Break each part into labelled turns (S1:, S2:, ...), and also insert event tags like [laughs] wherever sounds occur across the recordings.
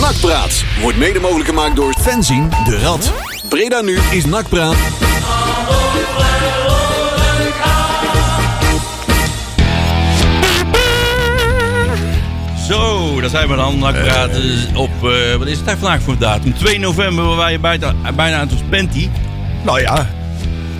S1: Nakpraat wordt mede mogelijk gemaakt door Fenzin de Rad. Breda nu is Nakpraat.
S2: Zo, daar zijn we dan. Nou, ik praat eh, op, eh, wat is het daar vandaag voor datum? 2 november, waar wij bijna, bijna aan het panty.
S3: Nou ja,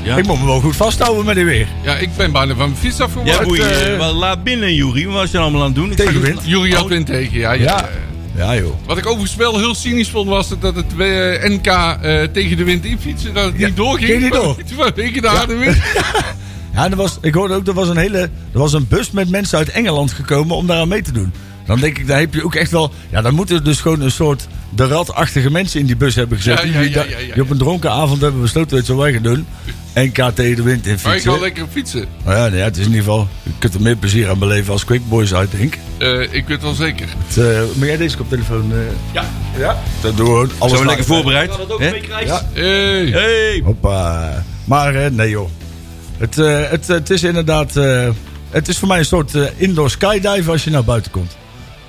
S2: Ja,
S3: ik moet me wel goed vasthouden met die weer.
S4: Ja, ik ben bijna van mijn fiets
S2: ja
S4: afgeworden.
S2: boei,
S3: het, eh,
S2: eh, wel laat binnen, Jury. Wat was je allemaal aan het doen? Ik
S3: Tegenwind.
S2: ga-
S4: Jury had
S2: Oh,
S4: wind tegen, ja, ja.
S3: Ja. Ja joh.
S4: Wat ik overigens wel heel cynisch vond, was het dat het eh, NK eh, tegen de wind infietsen, dat het
S3: Ja,
S4: niet doorging.
S3: ging niet door.
S4: [laughs] Vanwege de harde wind.
S3: Ja, en er was, ik hoorde ook, er was een hele, er was een bus met mensen uit Engeland gekomen om daaraan mee te doen. Dan denk ik, daar heb je ook echt wel, ja, dan moeten dus gewoon een soort de ratachtige mensen in die bus hebben gezet.
S4: Ja,
S3: die-
S4: ja,
S3: die
S4: ja,
S3: daar-
S4: ja, ja,
S3: die op een dronken avond hebben besloten dat ze wij gaan doen. En KT de wind in
S4: Maar ik
S3: fietsen.
S4: kan lekker fietsen.
S3: Nou ja, nee, het is in ieder geval, je kunt er meer plezier aan beleven als Quick Boys uit, denk ik.
S4: Eh, ik weet het wel zeker.
S3: Het, eh, maar jij deze koptelefoon? eh
S2: Ja.
S3: ja. Dat doen we gewoon.
S2: Zijn we
S3: Alles laten.
S2: lekker voorbereid? Hè?
S4: Hey.
S2: Hey.
S3: Hoppa. Maar eh, nee joh. Het, eh, het, het is inderdaad... eh, het is voor mij een soort eh, indoor skydive als je naar buiten komt.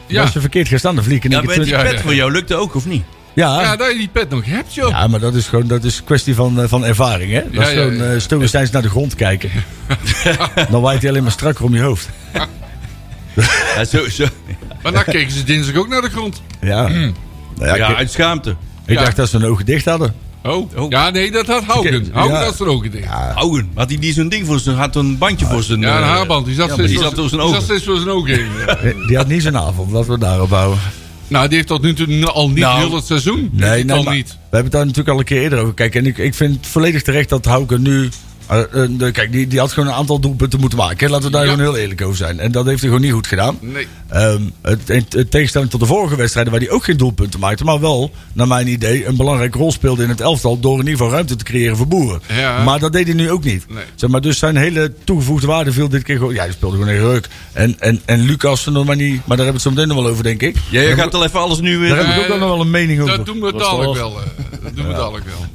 S4: Ja.
S3: Als je verkeerd gaat staan, dan vlieg ik in
S2: Ja,
S3: één keer
S2: met die
S4: ja,
S2: pet
S4: ja.
S2: voor jou lukte ook, of niet?
S3: Ja,
S4: ja,
S3: ja,
S4: dat je die pet nog hebt, joh.
S3: maar dat is gewoon dat is kwestie van, eh, van ervaring. Hè? Dat
S4: Ja,
S3: is
S4: ja,
S3: gewoon
S4: ja.
S3: eh, stoïcijns naar de grond
S4: [laughs]
S3: kijken. dan waait hij alleen maar strakker om je hoofd.
S2: Ja, zo, zo.
S4: Maar dan keken ze dinsdag ook naar de grond.
S3: Ja. Nou ja,
S2: ja
S3: ik,
S2: uit schaamte.
S3: ik
S4: Mm. ja.
S3: dacht dat ze hun ogen dicht hadden.
S4: Oh. Ja, nee, dat had Haugen.
S3: Ja.
S4: Haugen had er ook een ding.
S2: Augen. Had hij die zo'n ding voor zijn, had een bandje voor zijn...
S4: Ja, een
S2: eh,
S4: haarband. Die zat,
S2: maar
S4: steeds,
S2: die
S4: voor
S2: zat door zijn
S4: die
S2: ogen.
S4: steeds door zijn ogen heen. Ja.
S3: Eh, Die had niet zijn avond, laten we daarop houden.
S4: nou, die heeft dat nu toe- al niet
S2: Nou.
S4: heel het seizoen. Die
S3: Nee,
S4: heeft
S3: nee
S4: al
S3: maar
S4: niet.
S3: We hebben het daar natuurlijk al een keer eerder over. Kijk, en ik, ik vind het volledig terecht dat Hauke nu. eh, eh, de- kijk, die, die had gewoon een aantal doelpunten moeten maken. hè. Laten we daar
S4: Ja.
S3: gewoon heel eerlijk over zijn. En dat heeft hij gewoon niet goed gedaan.
S4: Nee.
S3: Ehm, het, in, in tegenstelling tot de vorige wedstrijden, waar hij ook geen doelpunten maakte. Maar wel, naar mijn idee, een belangrijke rol speelde in het elftal. Door in ieder geval ruimte te creëren voor boeren.
S4: Ja.
S3: Maar dat deed hij nu ook niet.
S4: Nee.
S3: Zeg maar, dus zijn hele toegevoegde waarde viel dit keer gewoon. Ja, hij speelde gewoon een ruk. En, en, en Lucas, maar, niet, maar daar hebben we het zo meteen nog wel over, denk ik.
S2: Ja, jij gaat al even alles nu weer...
S3: Daar heb ik ook
S4: Eh,
S3: nog wel een mening over.
S4: Dat doen we dadelijk wel. eh. Dat doen we dadelijk wel.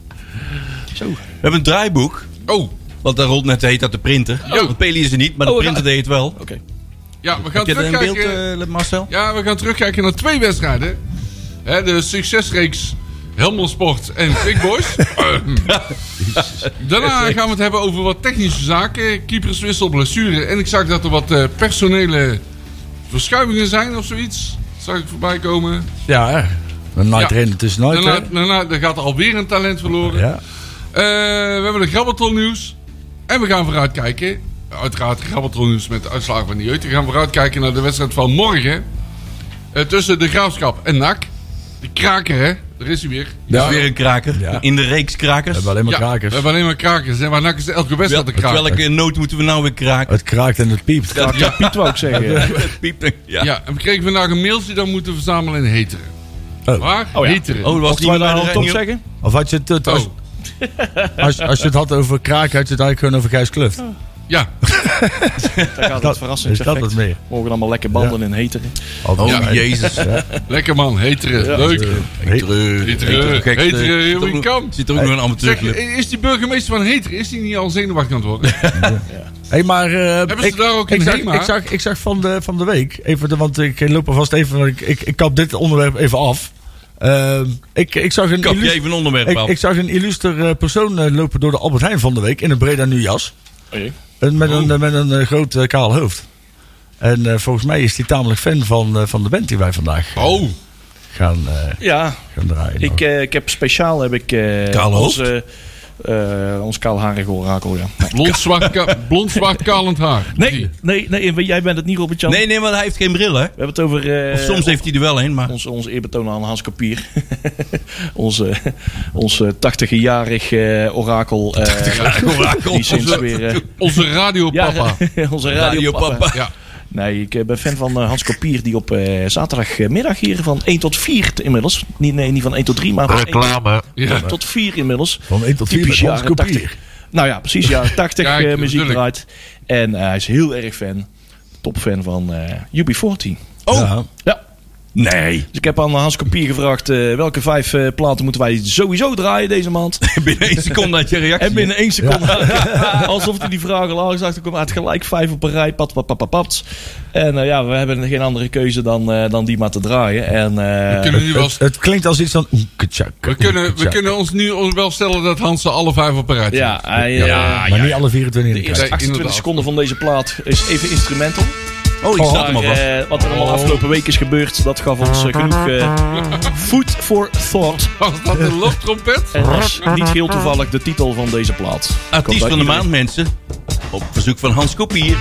S2: We hebben een draaiboek.
S4: Oh,
S2: Want daar rolt net heet dat de printer.
S4: Jo.
S2: Want Peli is er niet, maar de
S5: Oh,
S2: printer deed het wel. Oké.
S4: ja, we
S2: Heb
S4: gaan
S2: je er een beeld,
S4: terugkijken.
S2: eh, Marcel?
S4: Ja, we gaan terugkijken naar twee wedstrijden. Hè, de succesreeks Helmond Sport en Quick
S2: [laughs]
S4: Boys. Ehm. Daarna gaan we het hebben over wat technische zaken. Keeperswissel, blessure. En ik zag dat er wat eh, personele verschuivingen zijn of zoiets. Zag ik voorbij komen.
S3: Ja, een night
S4: Ja.
S3: trainer tussenuit.
S4: Daarna,
S3: hè?
S4: daarna er gaat alweer een talent verloren.
S3: Ja.
S4: Eh, we hebben de Grabbelton nieuws. En we gaan vooruitkijken. Uiteraard Grabbelton nieuws met de uitslagen van de jeugd. We gaan vooruitkijken naar de wedstrijd van morgen. Eh, tussen de Graafschap en NAC. De kraker, hè? Daar is hij weer.
S2: Dat is weer een kraker.
S3: Ja.
S2: In de reeks krakers.
S3: We hebben alleen maar
S4: Ja,
S3: krakers.
S4: We hebben alleen maar krakers. Hè? Maar NAC is elke wedstrijd een
S2: Wel,
S4: kraker.
S2: welke noot moeten we nou weer kraken?
S3: Het kraakt en het piept.
S2: Ja,
S5: Ja, Piet wou ik [laughs] zeggen.
S2: het piept. Ja.
S4: Ja, en we kregen vandaag een mailtje dat we moeten verzamelen in Heteren.
S3: Oh.
S4: Waar?
S5: Oh ja.
S4: Heteren.
S2: Oh, was
S5: Mochten
S2: die
S5: wij
S2: niet
S5: daar
S2: bij de rij-
S5: al top
S2: niet op-
S5: zeggen?
S3: Of had je het, het- als,
S4: Oh,
S3: als, als je het had over kraak, had je het eigenlijk gewoon over Gijs Kluft.
S4: ja.
S5: Daar gaat het verrassend.
S3: is dat het meer?
S5: Mogen allemaal lekker banden in heten.
S3: Oh,
S2: Oh, jezus.
S4: Lekker man, Heteren. Leuk.
S2: Hetere.
S4: Hetere,
S2: eh,
S4: Hetere, we come.
S2: Zit er ook nog een
S4: Zeg,
S2: amateurclub.
S4: is die burgemeester van Heteren, is die niet al zenuwachtig aan het worden?
S3: Hey, maar, eh,
S4: Hebben ze
S3: ik,
S4: daar ook
S3: ik
S4: een
S3: zag,
S4: Hema?
S3: ik, zag, ik zag van de, van de week, even, de- want ik loop alvast even, want ik, ik, ik kap dit onderwerp even af. Ehm, ik, ik zag een
S2: Kap je
S3: illus-
S2: even een onderwerp
S3: ik,
S2: af.
S3: ik zag een illuster eh, persoon eh, lopen door de Albert Heijn van de week in een Breda nu jas.
S5: Oh jee.
S3: En met een, eh, met een eh, groot eh, kaal hoofd. En eh, volgens mij is hij tamelijk fan van, eh, van de band die wij vandaag
S4: Oh,
S3: gaan, eh,
S5: Ja,
S3: gaan draaien. Nou,
S5: ik, eh, ik heb speciaal heb ik, eh,
S2: Kaal hoofd?
S5: onze, eh, ons kaalharige orakel. Ja.
S2: Nou,
S4: blond zwart, ka- blond zwart kalend haar.
S5: Nee, nee, nee, jij bent het niet, Robert-Jan.
S2: Nee, nee, maar hij heeft geen bril, hè?
S5: We hebben het over... eh,
S2: Of soms heeft hij er wel een, maar...
S5: Ons, ons eerbetoon aan Hans Kapier. [laughs] onze onze 80-jarig eh, orakel. eh, die sinds weer... eh,
S4: Onze radiopapa.
S5: ja, [laughs] onze
S2: Radio
S5: radiopapa.
S2: Papa.
S4: Ja.
S5: Nee, ik eh, ben fan van eh, Hans Kopier, die op eh, zaterdagmiddag hier van 1 tot 4 t- inmiddels. Niet, nee, niet van 1 tot 3, maar van 1 tot-
S4: Ja.
S5: tot 4 inmiddels.
S3: Van 1 tot 4 met
S5: Typisch
S3: Hans
S5: jaren
S3: Kopier.
S5: 80. Nou ja,
S4: [laughs]
S5: precies, jaren 80
S4: Ja, ik-
S5: eh, muziek
S4: tuurlijk.
S5: draait. En eh, hij is heel erg fan, topfan van eh UB40.
S2: Oh,
S3: Ja.
S5: Ja,
S2: Nee. [laughs]
S5: Dus ik heb aan Hans Kopier gevraagd eh, welke vijf eh, platen moeten wij sowieso draaien deze maand.
S2: Binnen één seconde had je reactie.
S5: En binnen één seconde,
S2: [laughs]
S5: alsof hij die vragen al aangezegd had, kwam uit gelijk vijf op een rij, pat, pat, pat, pat, pat. En eh, ja, we hebben geen andere keuze dan, eh, dan die maar te draaien. En, eh,
S4: We kunnen, nu wel,
S3: Het, het klinkt als iets van... oeketjak,
S4: we, kunnen, we
S3: oeketjak.
S4: kunnen ons nu wel stellen dat Hans ze alle vijf op een rijtje
S5: ja,
S4: heeft.
S5: hij,
S2: Ja,
S5: eh,
S2: ja,
S3: Maar niet alle 24 in
S5: de
S3: de
S5: eerste
S3: kruis.
S4: Nee,
S5: 28
S4: inderdaad.
S5: seconden van deze plaat is even instrumental.
S2: Oh, ik zat
S5: Maar,
S2: hem al vast.
S5: eh, wat er
S2: Oh.
S5: allemaal afgelopen week is gebeurd, dat gaf ons eh,
S2: [laughs]
S5: genoeg eh, food for thought.
S4: Was dat een loftrompet?
S5: En dat is niet heel toevallig de titel van deze plaat.
S2: Artiest van de maand, mensen. Op verzoek van Hans Kopier.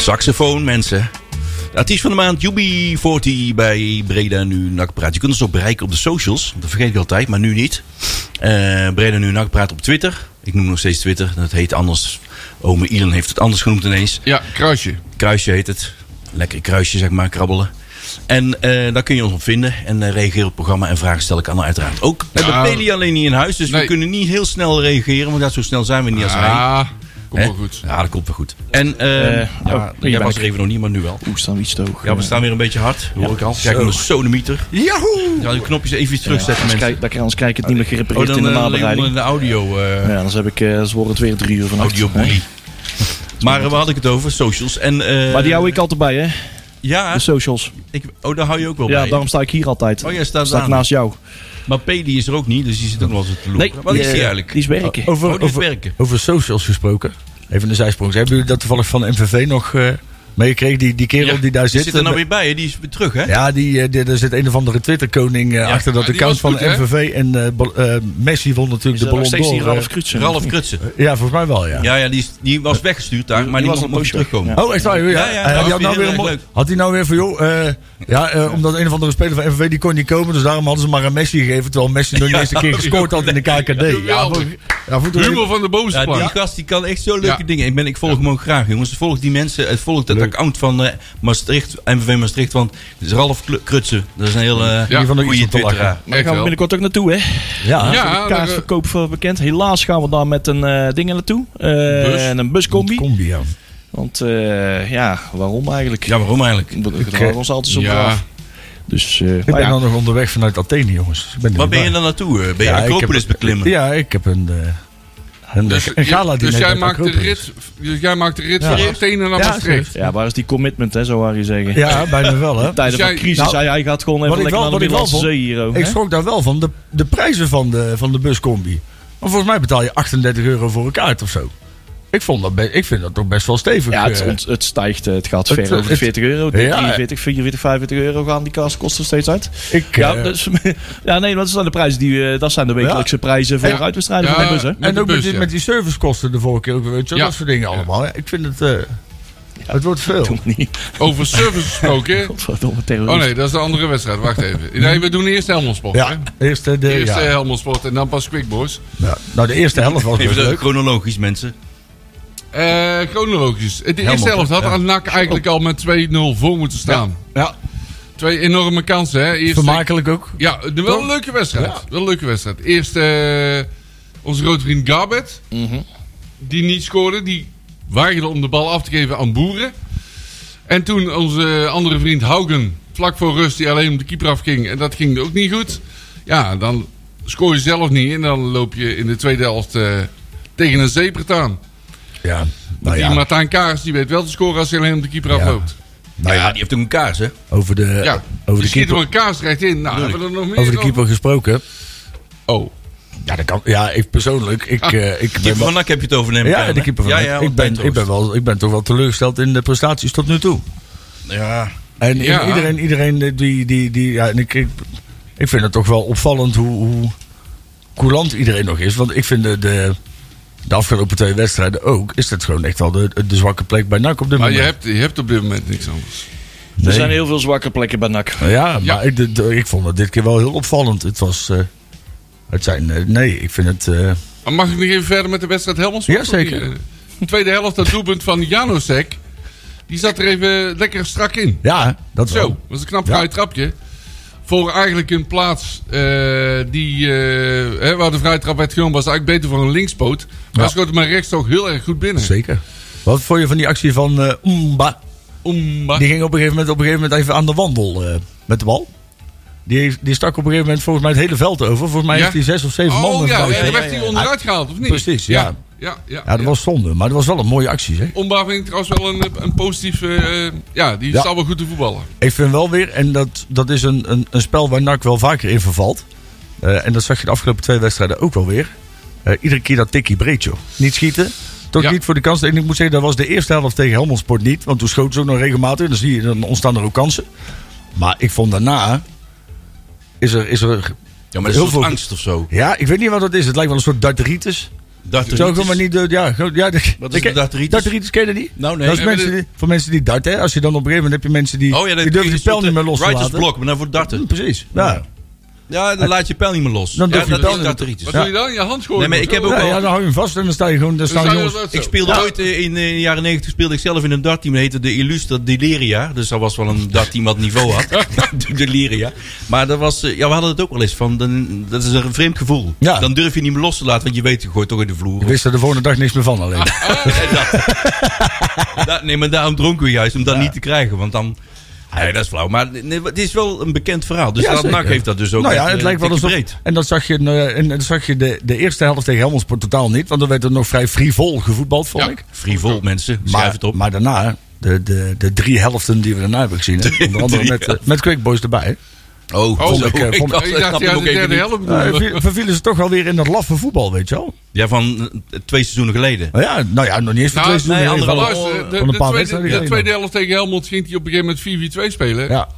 S2: Saxofoon, mensen. De artiest van de maand, UB40 bij Breda Nu Nakpraat. Je kunt ons ook bereiken op de socials. Dat vergeet ik altijd, maar nu niet. Eh, Breda Nu Nakpraat op Twitter. Ik noem nog steeds Twitter. Dat heet anders. Ome Ilan heeft het anders genoemd ineens.
S4: Ja, kruisje.
S2: Kruisje heet het. Lekker kruisje, zeg maar, krabbelen. En eh, daar kun je ons op vinden. En eh, reageer op het programma en vragen stellen kan uiteraard ook. We
S4: Nou,
S2: hebben Peli alleen niet in huis, dus we
S4: nee.
S2: kunnen niet heel snel reageren. Want ja, zo snel zijn we niet als hij.
S4: Ah, kom
S2: Hè?
S4: wel goed.
S2: Ja, dat komt wel goed. En eh
S5: Eh,
S2: ja,
S5: oh, hier
S2: jij
S5: ben
S2: was
S5: ik.
S2: er even nog niet, maar nu wel.
S5: Oeh, staan we iets te hoog. eh,
S2: Ja, we staan weer een beetje hard. Hoor ik al. Kijk, een sonemieter.
S3: Yahoo!
S2: Ja, de knopjes even iets
S5: Ja,
S2: terugzetten,
S5: anders
S2: mensen.
S5: kijk- dan- Anders kijk ik het niet meer
S2: Oh,
S5: gerepareerd
S2: dan
S5: in de
S2: eh, alleen
S5: nabereiding.
S2: onder de audio... eh
S5: Ja, anders heb ik, eh dan wordt het weer drie uur vannacht. Eh,
S2: audio
S5: Hè?
S2: Maar eh, waar had ik het over? Socials. En, eh,
S5: Maar die hou ik altijd bij, hè?
S2: Ja,
S5: De socials.
S2: ik, oh, daar hou je ook wel
S5: Ja,
S2: bij.
S5: daarom sta ik hier altijd.
S2: Oh, jij staat
S5: sta ik
S2: aan.
S5: naast jou.
S2: Maar P die is er ook niet, dus die zit ook wel eens te lopen. Wat is die eigenlijk?
S5: Die is werken.
S3: Over,
S2: Oh, die is
S3: over,
S2: werken.
S3: over socials gesproken. Even een zijsprong. Hebben jullie dat toevallig van MVV nog eh, meegekregen? Die, die kerel
S2: Ja,
S3: die daar zit.
S2: zit er nou
S3: eh,
S2: weer bij, hè? die is weer terug, hè?
S3: Ja, die, eh, die- er zit een of andere Twitterkoning eh, achter dat
S4: die
S3: account
S4: was
S3: van
S4: goed, hè?
S3: MVV. En eh, Bal- eh, Messi won natuurlijk
S5: Is
S3: de
S5: dat nog
S3: Ballon
S5: steeds die
S3: d'Or.
S5: Ralf
S3: eh.
S5: Krutsen?
S2: Ralf Krutsen.
S3: Ja, volgens mij wel, ja.
S2: Ja, ja die, is, die was weggestuurd daar, maar die,
S5: die was
S2: mocht
S5: een
S2: nog
S5: poosje
S2: terugkomen.
S3: Oh, echt waar? Ja,
S2: Ja, ja,
S3: Hij-
S2: dat
S3: hij
S2: vind ik
S3: had, nou
S2: heel
S3: weer, een
S2: erg
S3: mo-
S2: leuk.
S3: had hij nou weer van, joh, eh, ja, eh, omdat een of andere speler van MVV die kon niet komen, dus daarom hadden ze maar aan Messi gegeven, terwijl Messi nog niet eens een keer gescoord had in de KKD. Ja,
S4: Geweldig.
S3: voor- ja, voor-
S4: Humor van de boze
S2: Ja, die
S4: plank.
S2: gast die kan echt zo leuke
S4: Ja.
S2: dingen. Ik, ben, ik volg hem ook graag, jongens. Volg die mensen. eh, Volg dat account van eh, Maastricht, MVV Maastricht. Want het is Ralf Klu- Krutsen. Dat is een heel eh goede
S4: Ja.
S3: Iets om te lachen.
S2: twitteraar.
S5: Maar
S4: Echt
S5: daar gaan we
S4: wel.
S5: binnenkort ook naartoe, hè?
S3: Ja,
S4: Ja,
S5: Ja, de
S4: daar,
S5: kaartverkoop voor bekend. Helaas gaan we daar met een eh ding naartoe. Eh,
S4: Bus.
S5: En een buscombi.
S3: combi, ja.
S5: Want eh, ja, waarom eigenlijk?
S2: Ja, waarom eigenlijk?
S5: Want We houden ons altijd zo
S4: Ja.
S5: braaf. Dus eh,
S3: Ik
S5: nou
S3: ben
S5: ja,
S3: dan nog onderweg vanuit Athene, jongens. Ik ben er
S2: Waar
S3: niet
S2: ben je
S3: bij.
S2: dan naartoe? eh? Ben je
S3: Ja, ik heb-
S2: Acropolis beklimmen?
S3: Ja, ik heb een, eh een,
S4: Dus,
S3: een gala
S4: dus jij maakt de
S3: rit.
S4: rit, dus jij maakt de rit
S3: Ja.
S4: van Athene naar
S3: Ja,
S4: Maastricht.
S5: ja, waar is die commitment, hè, zou Harry zeggen.
S3: Ja, bijna wel, hè.
S5: Tijden
S4: Dus
S5: van
S4: jij-
S5: crisis.
S3: Nou,
S5: hij, hij gaat gewoon
S3: wat
S5: even
S3: ik
S5: lekker
S3: wel-
S5: naar de
S3: wat ik wel
S5: Middellandse Zee hier. ook,
S3: Ik
S5: hè?
S3: schrok daar wel van, de, de prijzen van de, van de buscombi. Maar volgens mij betaal je 38 euro voor een kaart of zo. Ik, vond dat be- ik vind dat toch best wel stevig.
S5: Ja, het,
S3: eh.
S5: ont- het stijgt. eh, Het gaat
S3: het-
S5: ver over de
S3: het-
S5: 40 euro.
S3: Ja, ja.
S5: 43, 44, 45 euro gaan die kosten steeds uit.
S3: Ik,
S5: Ja,
S3: eh,
S5: dus, [laughs] ja nee, dat zijn de prijzen die, eh, dat zijn de wekelijkse prijzen voor
S3: Ja.
S5: uitwedstrijden
S4: Ja.
S5: van de bus, hè?
S4: Met
S3: en
S4: de
S3: ook
S4: bus,
S3: met, die,
S4: ja.
S3: met die servicekosten de vorige keer. ook, Weet je, wel,
S4: Ja.
S3: Dat soort dingen allemaal. hè. Ik vind het... eh, het wordt veel.
S5: Doe maar niet.
S4: Over service gesproken.
S5: Godverdomme, terrorist.
S4: Oh nee, dat is de andere wedstrijd. Wacht even. Nee, we doen eerst Helmelsport. hè?
S3: Ja, eerst eh, de,
S4: Eerst
S3: ja.
S4: eh, Helmelsport en dan pas Quick Boys.
S3: Ja. Nou, de eerste helft was
S2: [laughs]
S3: best
S2: Even
S3: leuk.
S2: chronologisch, mensen.
S4: Eh, chronologisch. De eerste
S3: Helmelsport,
S4: helft had
S3: ja.
S4: NAC eigenlijk al met 2-0 voor moeten staan.
S3: Ja,
S4: Twee enorme kansen, hè? Eerst,
S3: vermakelijk ook.
S4: Ja, de- wel een
S3: Toch?
S4: leuke wedstrijd.
S3: Ja.
S4: Wel een leuke wedstrijd. Eerst eh, onze grote vriend Gabet.
S3: Mhm.
S4: Die niet scoorde. Die weigerde om de bal af te geven aan Boeren. En toen onze andere vriend Haugen. Vlak voor rust die alleen om de keeper afging. En dat ging ook niet goed. Ja, dan scoor je zelf niet. En dan loop je in de tweede helft eh, tegen een zeepert aan.
S3: Ja, nou
S4: Want die
S3: ja.
S4: Martijn Kaars die weet wel te scoren als hij alleen om de keeper afloopt.
S3: Nou
S2: ja,
S3: ja,
S2: die heeft ook een kaars, hè?
S3: over de,
S4: Ja,
S3: Eh, over
S4: die
S3: de
S4: schiet
S3: keeper,
S4: er een kaars recht in. Nou, hebben we er nog meer
S3: over de
S4: dan?
S3: keeper gesproken.
S4: Oh,
S3: Ja, dat kan. Ja, ik persoonlijk. Ik, eh, ik ben
S2: Keeper
S3: wel-
S2: van NAC heb je het over, neem ik aan,
S3: ja, de
S2: hè?
S3: keeper van
S2: Ja,
S3: NAC.
S2: ja,
S3: ik, ben, ik, ben wel, ik ben toch wel teleurgesteld in de prestaties tot nu toe.
S2: Ja,
S3: En i-
S4: Ja.
S3: iedereen, iedereen die. die, die ja, en ik, ik, ik vind het toch wel opvallend hoe, hoe coulant iedereen nog is. Want ik vind de, de, de afgelopen twee wedstrijden ook. Is dat gewoon echt wel de, de zwakke plek bij NAC op dit
S4: maar je
S3: moment.
S4: hebt, je hebt op dit moment niks anders.
S5: Er
S3: Nee.
S5: zijn heel veel zwakke plekken bij NAC.
S3: Ja,
S4: Ja.
S3: maar Ik, de- de- ik vond het dit keer wel heel opvallend. Het was. eh, het zijn. eh, nee, ik vind het. eh,
S4: Maar mag ik nog even verder met de wedstrijd Helmond?
S3: Ja, zeker.
S4: De eh, tweede helft, dat doelpunt van Janosek. Die zat er even lekker strak in.
S3: Oh. ja, dat wel.
S4: Zo, dat was een knap vrij trapje. voor eigenlijk een plaats eh, die, eh, hè, waar de vrije trap werd genomen, was eigenlijk beter voor een linkspoot. Maar
S3: Ja.
S4: schoot hem maar rechts toch heel erg goed binnen.
S3: Zeker. Wat vond je van die actie van eh Mba?
S4: Oemba.
S3: Die ging op een, gegeven moment, op een gegeven moment even aan de wandel eh, met de bal. Die, heeft- die stak op een gegeven moment volgens mij het hele veld over. Volgens mij
S4: Ja?
S3: heeft hij zes of zeven man
S4: Oh ja,
S3: eruit.
S4: en dan
S3: ja,
S4: werd hij onderuit gehaald, of niet?
S3: Precies, ja.
S4: Ja, ja, ja,
S3: dat
S4: ja.
S3: was zonde. Maar dat was wel een mooie actie, zeg.
S4: Omba vind ik trouwens wel een, een positief... eh, ja, die
S3: Ja.
S4: staat wel goed te voetballen.
S3: Ik vind wel weer, en dat, dat is een, een, een spel waar NAC wel vaker in vervalt. Eh, en dat zag je de afgelopen twee wedstrijden ook wel weer. Eh, iedere keer dat tikkie breed, joh. Niet schieten. Toch
S4: Ja.
S3: niet voor de kans. En ik moet zeggen, dat was de eerste helft tegen Helmond Sport niet. Want toen schoten ze ook nog regelmatig. Dan, zie je, dan ontstaan er ook kansen. Maar ik vond daarna... Is er, is er...
S2: Ja, maar dat is
S3: Heel
S2: een soort
S3: veel-
S2: angst of zo.
S3: Ja, ik weet niet wat dat is. Het lijkt wel een soort darteritis.
S2: Darteritis.
S3: Zo gewoon maar niet... eh, ja, gewoon- ja, [laughs] de-
S2: Wat is
S3: de-
S2: een darteritis?
S3: Darteritis ken je dat niet?
S2: Nou, nee.
S3: Dat is
S4: Nee, maar
S3: mensen
S4: dit-
S3: die, voor mensen die darten. hè. Als je dan op een gegeven moment heb je mensen die...
S2: Oh ja, dat
S3: die durven je pijl niet meer los te
S2: Writers
S3: laten. Mm,
S2: blok, maar dan voor darten.
S3: Precies. Ja.
S2: Ja, dan laat je pijl niet meer los.
S3: Dan
S2: ja,
S3: durf je
S2: dat
S3: pijl
S2: is
S3: niet meer-
S2: darteritis.
S4: Wat
S3: Ja.
S4: doe je dan? Je hand gooien?
S2: Nee, maar ik heb ook
S3: Ja,
S2: al-
S3: ja, dan hou je hem vast en dan sta je gewoon. Dan staan jongens.
S2: Ik speelde ooit eh, in, eh, de jaren 90 speelde ik zelf in een dartteam. Dat heette de Illustre Deliria. Dus dat was wel een dartteam wat niveau
S3: [laughs]
S2: had. [laughs] De Deliria. Maar dat was, eh, ja, we hadden het ook wel eens van. Dan, dat is een vreemd gevoel.
S3: Ja.
S2: Dan durf je niet meer los te laten, want je weet, je gooit toch in de vloer.
S3: Ik wist er de volgende dag niks meer van
S2: Ah,
S3: alleen.
S2: En dat- [laughs] Da- nee, maar daarom dronken we juist, om dat niet te krijgen. Want dan... Nee, dat is flauw. Maar nee, het is wel een bekend verhaal. Dus
S3: Ja,
S2: dat
S3: zeker.
S2: NAC heeft dat dus ook
S3: nou
S2: echt,
S3: ja, het
S2: eh,
S3: lijkt wel
S2: dikke
S3: alsof.
S2: breed.
S3: En dat zag je, eh, en dat zag je de, de eerste helft tegen Helmond Sport totaal niet. Want dan werd er nog vrij frivol gevoetbald, vond
S4: Ja.
S3: ik.
S2: Frivol, mensen. Schrijf
S3: Maar,
S2: het op.
S3: maar daarna, de, de, de drie helften die we daarna hebben
S2: [laughs]
S3: gezien. hè. Onder andere
S2: drie
S3: met, eh, met Quick Boys erbij.
S2: oh,
S4: Oh,
S2: zo.
S4: ik,
S3: eh, vond-
S2: dacht,
S4: Ik dacht,
S2: snap
S4: ja,
S2: hem
S4: de
S2: ook even
S4: derde
S2: niet.
S4: helft
S3: Eh,
S4: bedoelde.
S3: viel- vervielen ze toch wel weer in dat laffe voetbal, weet je wel.
S2: Ja, van eh, twee seizoenen geleden.
S3: Nou ja, nou ja nog niet eens voor
S4: Nou,
S3: twee
S2: nee,
S3: seizoenen. in ieder
S2: andere
S3: geval. eh,
S4: Luister, de,
S3: van een
S4: de
S3: paar
S4: tweede,
S3: wedstrijden
S4: de tweede
S3: geleden.
S4: helft tegen Helmond ging hij op een gegeven moment 4-4-2 spelen.
S3: Ja,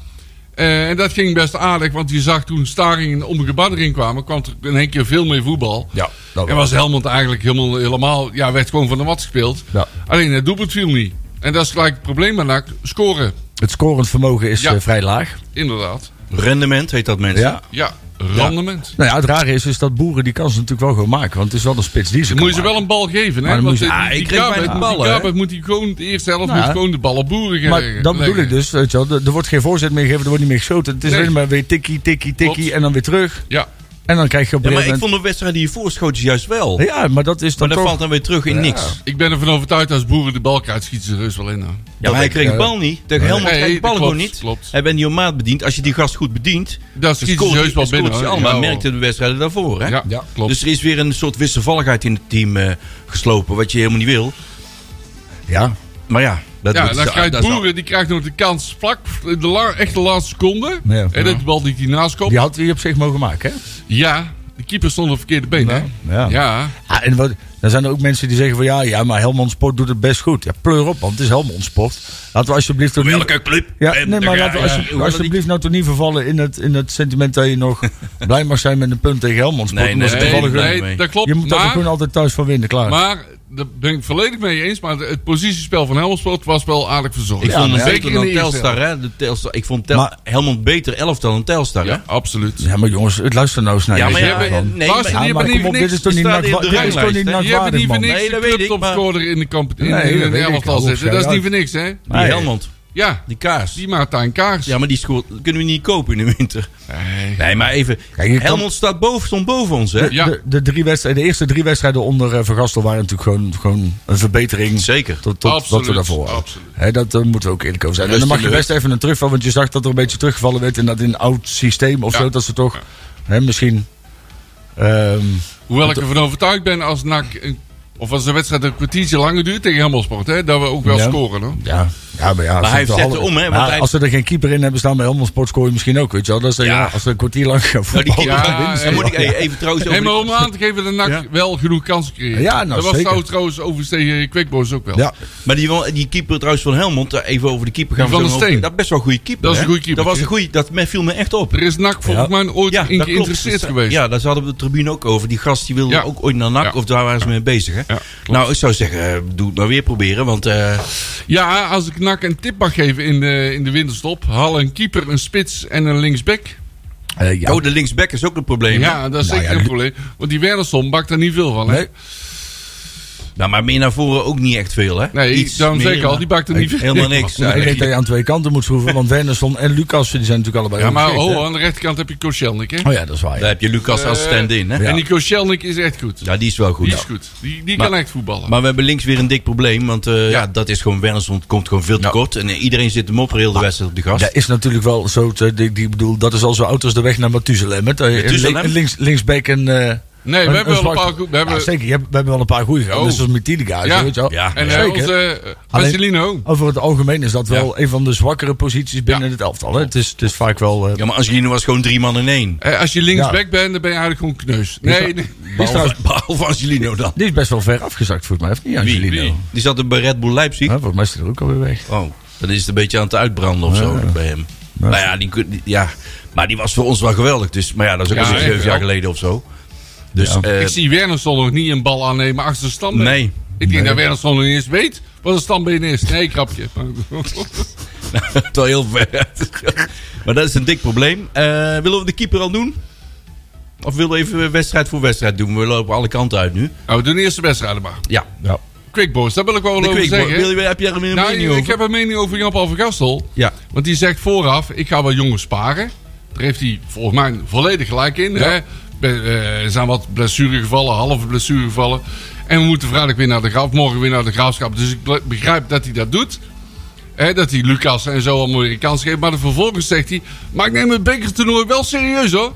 S4: Eh, en dat ging best aardig, want je zag toen Staring en Omgebad erin kwamen, kwam er in één keer veel meer voetbal.
S3: ja, dat
S4: En was Helmond eigenlijk helemaal, helemaal ja, werd gewoon van de mat gespeeld.
S3: Ja.
S4: Alleen het doelpunt viel niet. En dat is gelijk het probleem bij NAC. Scoren,
S3: Het scorend vermogen is
S4: Ja.
S3: eh, vrij laag.
S4: inderdaad.
S2: Rendement heet dat, mensen.
S3: Ja.
S4: Ja, rendement.
S3: Nou ja, het rare is, is dat boeren die kansen natuurlijk wel gewoon maken. Want het is wel een spits die ze
S4: Dan moet je
S3: kan
S4: ze wel een bal geven,
S3: Maar
S4: hè? Want
S3: dan moet je-
S4: die-
S2: Ah,
S4: die
S2: ik kreeg
S4: Kabert-
S2: weinig
S4: die
S2: ballen, hè?
S4: Kabert moet die gewoon de eerste helft
S3: Nou,
S4: moet gewoon de ballen boeren gaan.
S3: maken. Maar dat bedoel ik dus, weet je wel. Er er wordt geen voorzet meer gegeven, er wordt niet meer geschoten. Het is
S4: Nee.
S3: alleen maar weer tikkie, tikkie, tikkie
S4: Klopt.
S3: en dan weer terug.
S4: Ja,
S3: En dan krijg je op
S2: Ja,
S3: een
S2: maar ik
S3: gegeven
S2: vond de wedstrijd die je voorschoot juist wel.
S3: moment... Ja, maar dat is
S2: maar
S3: dan
S2: dat
S3: toch...
S2: valt dan weer terug in niks.
S4: ik ben ervan overtuigd als boeren de bal krijgt, schieten ze rust wel in. Nou.
S2: Ja, maar hij kreeg de
S3: eh,
S2: bal niet. Tegen Helmond
S4: Nee,
S2: kreeg de bal
S4: klopt,
S2: gewoon niet.
S4: klopt.
S2: Hij bent niet op maat bediend. Als je die gast goed bedient,
S4: Dat
S2: dan
S4: schiet ze
S2: scoort hij-
S4: heus wel
S2: dan scoort
S4: binnen.
S2: hij
S4: hoor.
S2: allemaal.
S4: Ja, hoor.
S2: merkte de wedstrijden daarvoor. Hè?
S4: Ja, ja, klopt.
S2: Dus er is weer een soort wisselvalligheid in het team eh, geslopen, wat je helemaal niet wil.
S3: Ja,
S2: Maar ja, dat,
S4: Ja,
S2: dat
S4: dan
S2: is-
S4: krijgt
S2: dat is-
S4: Boeren, die krijgt nog de kans vlak, in de la, echt de laatste seconde.
S3: Ja.
S4: En dat de bal die hij naast komt.
S3: die
S4: Ja.
S3: had hij op zich mogen maken, hè?
S4: de keeper stond op verkeerde been, hè?
S3: Ja.
S4: Ja,
S3: Ah, en wat, dan zijn er ook mensen die zeggen van... Ja, ja, maar Helmond Sport doet het best goed. Ja, pleur op, want het is Helmond Sport. Laten we alsjeblieft... toch niet-
S2: Welke club?
S3: Ja,
S2: Eh,
S3: nee, maar
S2: ja,
S3: laten we
S2: ja,
S3: alsje-
S2: hoe wil dat niet?
S3: alsjeblieft nou toch niet vervallen in het, in het sentiment dat je
S2: [laughs]
S3: nog blij mag zijn met een punt tegen Helmond Sport.
S2: Nee,
S3: omdat ze
S2: nee,
S4: nee,
S3: toevallig
S2: nee,
S3: winnen.
S2: mee.
S4: dat klopt.
S3: Je moet daar
S4: maar,
S3: gewoon altijd thuis van winnen, klaar.
S4: maar, daar ben ik volledig mee eens. Maar het positiespel van Helmsport was wel aardig verzorgd.
S2: Ik vond
S4: ja,
S2: hem
S4: zeker
S2: beter
S4: in de
S2: dan
S4: eerste
S2: Telstar, hè? De Telstar. Ik vond Tel
S3: Maar-
S2: Helmond beter elftal dan Telstar, hè?
S4: helft. Ja, absoluut.
S3: Ja, maar jongens, het luister nou eens naar
S2: Ja,
S3: je.
S2: maar
S3: zeg
S2: ja,
S3: maar.
S2: eh, nee,
S4: Luister,
S2: maar-
S4: die hebben
S3: maar kom
S4: niet
S3: op,
S4: voor
S3: dit is
S4: niks.
S3: toch
S2: Die
S3: niet
S2: staat in
S3: nakwa-
S2: de
S3: dit is toch
S2: ranglijst,
S3: niet
S2: hè?
S4: Die hebben
S3: nakwaardig,
S4: niet voor
S3: man.
S4: niks
S2: Nee,
S4: de
S2: dat weet ik,
S4: clubtopscorer in de kamp- in,
S3: Nee, dat
S4: in
S3: weet
S4: de
S3: ik,
S4: elftal
S3: dat
S4: zitten.
S3: hoeft
S4: Dat is
S3: geen
S4: niet voor niks, hè?
S2: Die
S3: Nee.
S2: Helmond,
S4: Ja,
S2: die kaars.
S4: die Martijn Kaars.
S2: Ja, maar die scoort, kunnen we niet kopen in de winter.
S4: Nee.
S2: Nee, maar even.
S3: Kijk, je kan-
S2: Helmond staat boven, stond boven ons, hè?
S3: De,
S4: Ja.
S3: de, de drie wedstrijden, de eerste drie wedstrijden onder eh, Van Gastel waren natuurlijk gewoon, gewoon een verbetering.
S2: Zeker.
S3: Tot, tot wat we
S4: Absoluut,
S3: daarvoor hadden.
S4: absoluut.
S3: Hè, dat eh, moeten we ook eerlijk over zijn. En
S2: Rust
S3: dan mag
S2: in
S3: je
S2: de
S3: best even een terugval, want je zag dat er een beetje teruggevallen werd. En dat in een oud systeem of
S4: Ja.
S3: zo, dat ze toch hè, misschien. ehm,
S4: Hoewel ik ervan overtuigd ben als NAC... een- of als de wedstrijd een kwartiertje langer duurt tegen Helmelsport... Hè, dat we ook wel
S3: Ja.
S4: scoren. Hoor.
S3: ja, ja, maar ja. als
S2: hij
S3: het
S2: zette
S3: alle-
S2: om, hè, want
S3: maar
S2: hij-
S3: Als ze er geen keeper in hebben staan bij Helmond Sport, scoor je misschien ook. Weet je wel. Dat is, eh,
S2: Ja.
S3: ja, als ze een kwartier lang gaan
S2: Nou, die
S3: voetballen.
S2: keeper-
S4: Ja,
S2: dan
S4: ja,
S2: moet ik even, even trouwens over
S4: Nee, maar
S2: die-
S4: om aan te geven dat NAC
S2: Ja.
S4: wel genoeg kansen creëert.
S3: Ja, nou,
S4: dat was
S3: zeker.
S4: trouwens, trouwens overigens tegen Quickboys ook wel.
S3: Ja,
S2: Maar die, wel- die keeper trouwens van Helmond, daar even over de keeper gaan
S4: Die
S2: we
S4: van
S2: zo
S4: de
S2: nog-
S4: Steen.
S2: Dat is best wel een goede keeper.
S4: Dat is
S2: hè?
S4: een goede keeper,
S2: Dat was een
S4: ja.
S2: goede, dat me- viel me echt op.
S4: Er is NAC volgens mij ooit
S2: Ja, dat
S4: in
S2: klopt.
S4: geïnteresseerd
S2: Dus,
S4: geweest.
S2: Ja, daar hadden we op de tribune ook over. Die gast die wilde
S4: Ja.
S2: ook ooit naar NAC,
S4: Ja.
S2: of daar waren ze mee bezig. Hè?
S4: Ja,
S2: nou, ik zou zeggen, eh, doe het maar weer proberen, want eh,
S4: Ja, als ik NAC een tip mag geven in de, in de winterstop... haal een keeper, een spits en een linksback.
S3: Eh, ja.
S2: oh, de linksback is ook een probleem. hè?
S4: Ja, dat is
S3: Nou
S4: zeker
S3: ja,
S4: een
S3: die-
S4: probleem. Want die Wernersson bakt er niet veel van. Hè?
S3: Nee.
S2: Nou, maar meer naar voren ook niet echt veel, hè?
S4: Nee,
S2: Iets
S4: daarom
S2: meer, eh,
S4: zeg ik al,
S2: maar-
S4: die maakte niet veel.
S2: Helemaal niks.
S3: Ja, ik denk dat
S2: eigenlijk.
S3: je aan twee kanten moet schroeven, want Wernersson en Lucas die zijn natuurlijk allebei.
S4: Ja, maar
S3: vergeten,
S4: oh,
S3: hè?
S4: aan de rechterkant heb je Koscielnik, hè?
S3: Oh ja, dat is waar.
S2: Daar
S3: ja.
S2: heb je Lucas als
S4: Eh,
S2: stand-in, hè?
S3: ja.
S2: Ja.
S4: En die Koscielnik is echt goed.
S2: die is wel goed.
S4: Die
S2: Ja.
S4: is goed. Die, die
S2: Maar-
S4: kan echt voetballen.
S2: Maar we hebben links weer een dik probleem, want eh, ja. dat is gewoon Wernersson komt gewoon veel te kort. En eh, iedereen zit hem op heel de wedstrijd op de gast.
S3: Dat is natuurlijk wel zo. te- die, die, bedoel, dat is al zo oud als de weg naar Matuzelem. hè. Dat je
S2: Mathusalem?
S3: link- links, linksback en. eh,
S4: nee, we hebben wel een
S3: zwarte-
S4: paar goed. We hebben,
S3: Ja, zeker, je hebt- we hebben wel een paar goede gehad.
S4: Oh.
S3: Net zoals Mitidiga.
S4: Ja.
S3: Weet je wel.
S2: Ja.
S4: en eh,
S3: zeker.
S4: onze eh,
S3: Alleen-
S4: Marcelino.
S3: Over het algemeen is dat wel een van de zwakkere posities binnen
S4: Ja.
S3: het elftal. Hè? Het, is, het is vaak wel. eh,
S2: Ja, maar Angelino was gewoon drie man in één.
S4: Eh, als je linksback bent, dan ben je eigenlijk gewoon kneus. Nee, nee.
S2: Behalve, behalve Angelino dan.
S3: Die is best wel ver afgezakt, volgens mij. Of niet, Angelino?
S2: Die zat er bij Red Bull Leipzig.
S3: Hè, volgens mij is hij er ook alweer weg.
S2: Oh, dan is het een beetje aan het uitbranden of zo bij hem. Nou ja, die, kun- die- ja, maar die was voor ons wel geweldig. Dus, maar ja, dat is ook
S4: Ja,
S2: al
S4: echt
S2: zeven
S4: wel.
S2: jaar geleden of zo. Dus,
S3: Ja.
S2: eh,
S4: ik zie Wernersson nog niet een bal aannemen achter de standbeen.
S2: Nee.
S4: Ik denk dat Wernersson nog niet eens weet wat een standbeen is. Nee, krapje.
S2: het wel heel ver. [laughs] maar dat is een dik probleem. Eh, willen we de keeper al doen? Of willen we even wedstrijd voor wedstrijd doen? We lopen alle kanten uit nu.
S4: nou, we doen eerst de wedstrijd maar.
S2: Ja.
S3: Ja.
S4: Quick Boys, daar wil ik wel wat
S2: De
S4: over
S2: Quick Boy.
S4: zeggen.
S2: Wil je, heb je er een
S4: nou,
S2: mening
S4: ik
S2: over?
S4: heb een mening over Jan Paul van Gastel.
S2: Ja.
S4: Want die zegt vooraf, ik ga wel jongens sparen. Daar heeft hij volgens mij volledig gelijk in. Hè? Be- eh, Er zijn wat blessuregevallen, halve blessuregevallen. En we moeten vrijdag weer naar de graaf, morgen weer naar de graafschap. Dus ik ble- begrijp dat hij dat doet. Hè, dat hij Lucas en zo allemaal weer een kans geeft. Maar dan vervolgens zegt hij, maar ik neem het bekertoernooi wel serieus hoor.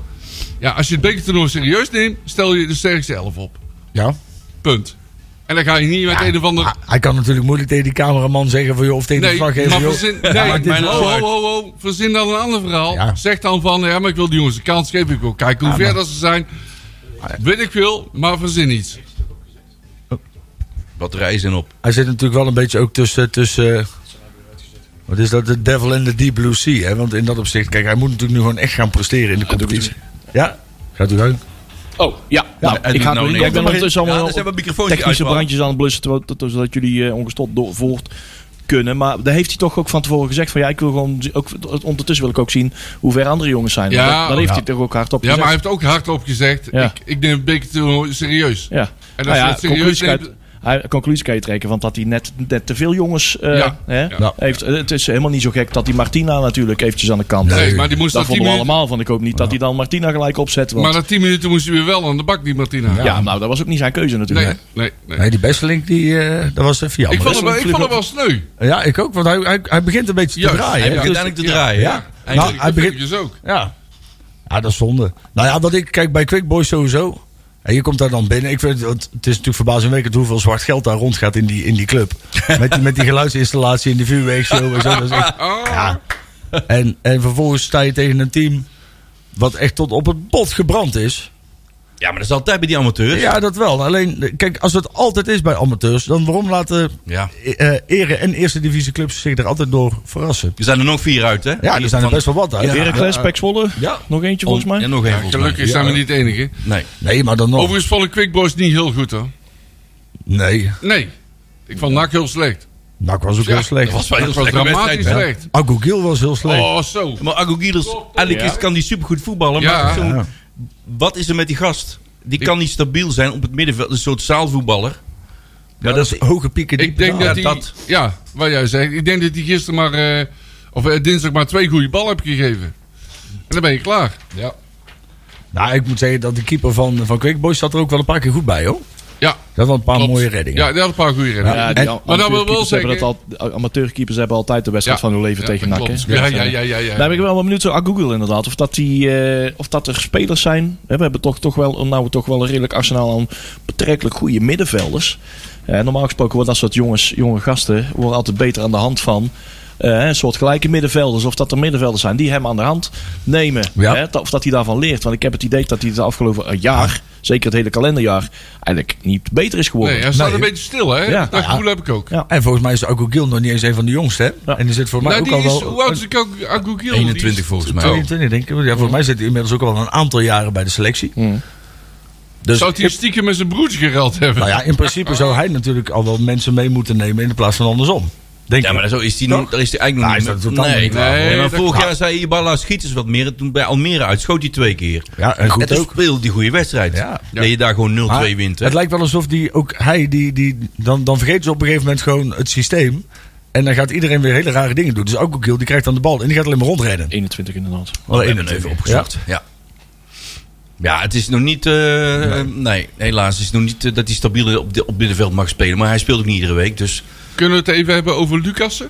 S4: Ja, als je het bekertoernooi serieus neemt, stel je de sterkste elf op.
S3: ja.
S4: Punt. En dan ga je niet met een of ander...
S3: Hij- Hij kan natuurlijk moeilijk tegen die cameraman zeggen van, joh, of tegen de
S4: Nee,
S3: verslaggever.
S4: maar
S3: joh,
S4: verzin,
S3: ja,
S4: nee,
S3: maakt dit
S4: maar
S3: wel
S4: ho,
S3: uit.
S4: ho, ho, ho, verzin dan een ander verhaal.
S3: Ja.
S4: Zeg dan van, ja, maar ik wil die jongens een kans geven. Ik wil kijken hoe
S3: Ja,
S4: ver
S3: maar-
S4: dat ze zijn. Weet ik veel, maar verzin iets.
S2: Batterij is in op.
S3: Hij zit natuurlijk wel een beetje ook tussen. tussen eh, wat is dat? De Devil in the Deep Blue Sea. Hè? Want in dat opzicht, kijk, hij moet natuurlijk nu gewoon echt gaan presteren in de competitie. Ja? Gaat u gang.
S5: Oh, ja.
S2: Nou,
S5: ik, ga
S2: nou,
S5: nu-
S2: nee.
S5: ja, ik ben ondertussen
S2: Ja,
S5: allemaal
S2: dus hebben we microfoontje
S5: technische
S2: uitvallen.
S5: brandjes aan het blussen, terwijl- tot- zodat jullie eh, ongestopt door, voort kunnen. Maar daar heeft hij toch ook van tevoren gezegd van ja, ik wil gewoon, zi- ook, ondertussen wil ik ook zien hoe ver andere jongens zijn.
S4: Ja,
S5: dat, dat heeft
S4: ja.
S5: hij toch ook hardop
S4: Ja, maar hij
S5: gezegd.
S4: heeft ook hardop gezegd,
S5: Ja.
S4: ik, ik neem het bekertoernooi serieus.
S5: Ja,
S4: En
S5: Nou
S4: als je
S5: ja,
S4: het serieus
S5: conclusie kan
S4: neemt...
S5: je- hij- conclusie kan je trekken, want dat hij net, net te veel jongens eh,
S4: Ja.
S5: hè,
S3: Ja.
S5: heeft. eh, Het is helemaal niet zo gek dat die Martina natuurlijk eventjes aan de kant.
S4: Nee, maar die moest
S5: dat
S4: dat
S5: vonden we
S4: 10 minuten-
S5: allemaal van. Ik hoop niet dat hij dan Martina gelijk opzet. Want,
S4: Maar na 10 minuten moest hij weer wel aan de bak, die Martina.
S5: ja, nou, dat was ook niet zijn keuze
S4: Nee,
S5: natuurlijk.
S4: nee, nee.
S3: Nee, die Besselink, die, eh, dat was even jammer.
S4: Ik vond hem wel-
S5: een
S4: ik vond hem
S5: vlug-
S4: wel sneu.
S3: Ja, ik ook, want hij, hij, hij begint een beetje te
S4: Juist,
S3: draaien.
S2: Hij
S3: hè.
S2: begint
S3: Dus-
S2: uiteindelijk te draaien.
S3: Ja.
S2: hè?
S3: Nou,
S2: Eindelijk.
S3: hij begint-
S4: Dus ook.
S3: Ja. ja, dat is zonde. Nou ja, wat ik kijk bij Quick Boys sowieso. En je komt daar dan binnen. Ik vind, het het is natuurlijk verbazingwekkend hoeveel zwart geld daar rondgaat in die, in die club. Met die, met die geluidsinstallatie en die vuurweegshow en zo. Dat is echt- ja. en, en vervolgens sta je tegen een team wat echt tot op het bot gebrand is.
S2: Ja, maar dat is altijd bij die amateurs.
S3: Ja, dat wel. Alleen, kijk, als het altijd is bij amateurs, dan waarom laten
S2: Ja.
S3: eh ere- en eerste divisie clubs zich er altijd door verrassen?
S2: Er zijn er nog vier uit, hè?
S3: Ja, er zijn er
S2: Van-
S3: best wel wat uit.
S5: Heracles, Pek Zwolle.
S3: Ja.
S5: Nog eentje volgens
S2: Ja,
S5: mij.
S2: nog één
S4: Ja,
S2: volgens
S4: gelukkig zijn we niet de enige.
S3: Oh.
S2: mij. Nee.
S3: Nee, maar dan nog.
S4: Overigens vond ik Quick Boys niet heel goed hoor.
S3: Nee,
S4: Nee, ik vond NAC heel slecht.
S3: NAC Nou, was ook heel slecht.
S2: Dat was wel
S4: Dat
S2: heel
S4: was
S2: slecht.
S4: dramatisch slecht.
S3: Agogil was heel slecht.
S4: Oh, zo.
S2: Maar Agogilis, eigenlijk is, kan die supergoed voetballen.
S4: Ja.
S2: Maar zo'n-
S3: Ja.
S2: wat is er met die gast? Die kan niet stabiel zijn op het middenveld. Een soort zaalvoetballer. Maar dat, is
S3: Hoge pieken.
S4: Ik denk
S2: betalen.
S4: dat hij,
S2: Ja, dat.
S4: ja, wat jij zegt, ik denk dat hij gisteren maar, eh, of eh, dinsdag maar twee goede ballen hebt gegeven. En dan ben je klaar. Ja.
S3: Nou, ik moet zeggen dat de keeper van, van Quick Boys zat er ook wel een paar keer goed bij, hoor.
S4: Ja,
S3: Dat was een paar
S4: klopt.
S3: mooie reddingen.
S4: Ja, die had een paar goede reddingen.
S5: Ja,
S3: En-
S5: die
S3: maar
S4: dat wil wel
S5: amateurkeepers hebben dat
S4: zeggen-
S5: al, de amateurkeepers hebben altijd de wedstrijd
S4: Ja,
S5: van hun leven
S4: ja,
S5: tegen
S4: dat
S5: NAC. hè?
S4: klopt. Ja, ja, ja, ja, ja.
S5: Daar ben ik wel benieuwd naar Ah, Google inderdaad. Of dat, die, eh, of dat er spelers zijn. Hè, We hebben toch, toch wel, nou, toch wel een redelijk arsenaal aan betrekkelijk goede middenvelders. Eh, normaal gesproken worden dat soort jongens, jonge gasten worden altijd beter aan de hand van. eh, een soort gelijke middenvelders, of dat er middenvelders zijn die hem aan de hand nemen.
S3: Ja.
S5: Hè, dat- of dat hij daarvan leert. Want ik heb het idee dat hij het afgelopen eh, jaar, zeker het hele kalenderjaar, eigenlijk niet beter is geworden.
S4: Nee, hij staat
S3: Nee.
S4: een beetje stil, hè?
S5: Ja.
S4: Dat gevoel heb ik ook.
S5: Ja.
S3: Nou, En volgens mij is Agogil nog niet eens een van de jongsten, hè?
S5: Ja.
S3: En die zit voor mij
S4: Nou, die
S3: ook al
S4: is, Oh.
S3: wel...
S4: hoe oud is ik ook? Agogiel?
S2: 21 volgens mij.
S3: 22, denk ik. Ja, volgens mij zit hij inmiddels ook al een aantal jaren bij de selectie.
S2: Hmm.
S3: Dus
S4: Zou hij stiekem met zijn broertje gereld hebben?
S3: nou ja, in principe zou hij natuurlijk al wel mensen mee moeten nemen in de plaats van andersom. Denk
S2: Ja,
S3: ik.
S2: maar zo is die, nu,
S3: Toch?
S2: daar is die
S3: Nou,
S2: eigenlijk
S3: is
S2: nog
S3: dat totaal
S2: nee.
S3: niet
S2: Nee,
S4: waar. Nee,
S2: maar
S4: dat
S2: vorig
S4: klopt.
S2: jaar zei Ibala schiet eens wat meer. En Toen bij Almere uit schoot hij twee keer.
S3: Ja, en goed
S2: Het is
S3: ook.
S2: veel die goede wedstrijd.
S3: Ja.
S2: Dat je daar gewoon 0-2
S3: Maar
S2: wint. hè.
S3: Het lijkt wel alsof die, ook hij, die, die, dan, dan vergeet ze op een gegeven moment gewoon het systeem. En dan gaat iedereen weer hele rare dingen doen. Dus ook Okiel, die krijgt dan de bal en die gaat alleen maar rondrennen.
S5: 21 inderdaad.
S2: We hebben
S3: één
S2: hem even
S3: natuurlijk.
S2: opgezocht. Ja. ja. het is nog niet. eh, nee. helaas. Het is nog niet eh, dat hij stabiel op, di- op middenveld mag spelen. Maar hij speelt ook niet iedere week. Dus
S4: Kunnen we het even hebben over Lucassen?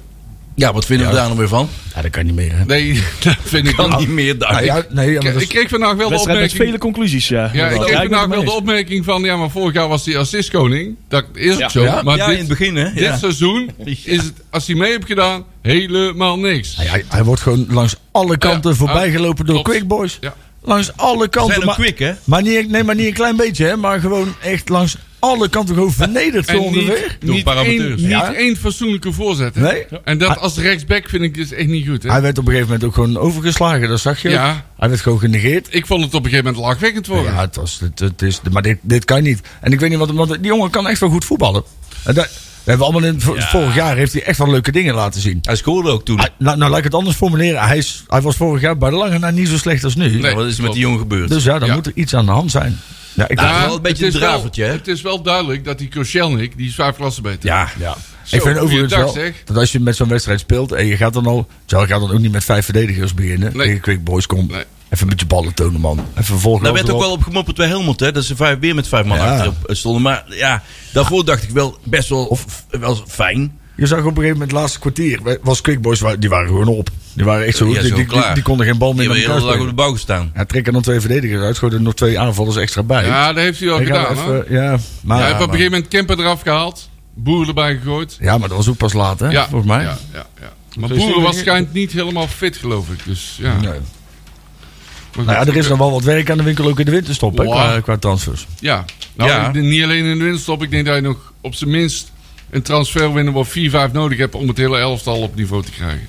S2: ja, wat vinden we daar nog weer van? Ah,
S3: Ja, dat kan niet meer. Hè?
S4: Nee, [laughs] dat vind ik
S2: Kan
S4: niet.
S2: niet meer daar. [laughs]
S3: Nou ja, nee, ja, maar
S4: Ik,
S3: dat
S4: ik
S3: is-
S4: kreeg vandaag wel de
S5: Wedstrijd met
S4: opmerking...
S5: vele conclusies, ja.
S4: Ja, ik
S5: inderdaad.
S4: kreeg
S5: Ja,
S4: vandaag
S5: ben
S4: wel
S5: het
S4: de
S5: mee
S4: opmerking van... Ja, maar vorig jaar was hij assistkoning. Dat is ook
S5: Ja.
S4: zo.
S2: ja,
S4: maar
S2: ja,
S4: dit,
S2: in het begin, hè? [laughs]
S4: dit
S2: Ja.
S4: seizoen is het, als hij mee hebt gedaan, helemaal niks.
S3: hij, hij- hij wordt gewoon langs alle kanten
S4: Ja,
S3: voorbij
S4: ah,
S3: gelopen door
S4: klopt.
S3: Quick Boys.
S4: Ja.
S3: Langs alle kanten.
S2: zijn ook
S3: maar,
S2: quick, hè?
S3: maar niet, nee, maar niet een klein beetje, hè? Maar gewoon echt langs alle kanten gewoon vernederd zo
S4: En
S3: ongeveer.
S4: niet,
S2: Door
S4: niet, één,
S2: parameteurs.
S4: niet
S3: Ja.
S4: één fatsoenlijke voorzet. hè?
S3: Nee.
S4: En dat als rechtsback vind ik dus echt niet goed. Hè?
S3: Hij werd op een gegeven moment ook gewoon overgeslagen, dat zag je. ook.
S4: Ja.
S3: Hij werd gewoon genegeerd.
S4: Ik vond het op een gegeven moment lachwekkend worden.
S3: Ja, het was, het, het is, maar dit, dit kan niet. En ik weet niet wat, want die jongen kan echt wel goed voetballen. En dat, we hebben allemaal in, het vo- Vorig jaar heeft hij echt wel leuke dingen laten zien.
S2: Hij scoorde ook toen.
S3: Hij- nou, nou, laat ik het anders formuleren. Hij, is, hij was vorig jaar bij de lange na niet zo slecht als nu.
S4: Nee.
S2: wat is er met die jongen gebeurd?
S3: Dus ja, dan
S4: Ja.
S3: moet er iets aan de hand zijn. Ja, ik
S2: Ja.
S3: vind-
S2: wel een beetje
S4: het is
S2: een dravertje,
S4: wel-
S2: hè?
S4: Het is wel duidelijk dat die Koscielnik, die is vijf klassen beter.
S2: ja.
S3: ja.
S4: Zo,
S3: ik vind overigens
S4: goeiedag,
S3: wel
S4: zeg.
S3: dat als je met zo'n wedstrijd speelt en je gaat dan al. Charles gaat dan ook niet met vijf verdedigers beginnen.
S4: Nee.
S3: Tegen Quick Boys komt.
S4: Nee.
S3: Even een beetje ballen tonen, man. Even volgen.
S2: Daar werd ook wel op gemopperd bij Helmond, hè? Dat ze vijf, weer met vijf man
S3: Ja.
S2: achterop stonden. Maar ja, daarvoor dacht ik wel best wel, of, wel fijn.
S3: Je zag op een gegeven moment het laatste kwartier. Was Quick Boys, wa- die waren gewoon op. Die waren echt zo.
S2: Ja,
S3: die,
S2: zo
S3: die, die,
S2: klaar.
S3: die konden geen bal
S2: Die
S3: meer
S2: hebben
S3: met
S2: de
S3: elkaar
S2: hele dag op
S3: spelen.
S2: de bouw gestaan.
S3: Ja, trekken dan twee verdedigers uit. Schoten er nog twee aanvallers extra bij.
S4: Ja, dat heeft hij wel
S3: Ik ga
S4: gedaan. hoor.
S3: even- ja, maar,
S4: Hij
S3: ja,
S4: heeft op een gegeven moment Kemper eraf gehaald. Boer erbij gegooid.
S3: maar dat was ook pas laat, hè?
S4: Ja,
S3: volgens mij.
S4: Ja, ja, ja. Maar
S3: Dus
S4: Boer
S3: die-
S4: was schijnt niet helemaal fit, geloof ik. Dus ja.
S3: Nee.
S4: Maar
S3: Nou ja,
S4: goed,
S3: er is nog wel wat werk aan de winkel ook in de winterstop, hè,
S4: Wow.
S3: qua, qua transfers.
S4: ja. Nou,
S2: Ja.
S4: ik denk niet alleen in de winststop. Ik denk dat je nog op zijn minst een transfer winnen wat 4-5 nodig hebt om het hele elftal op niveau te krijgen.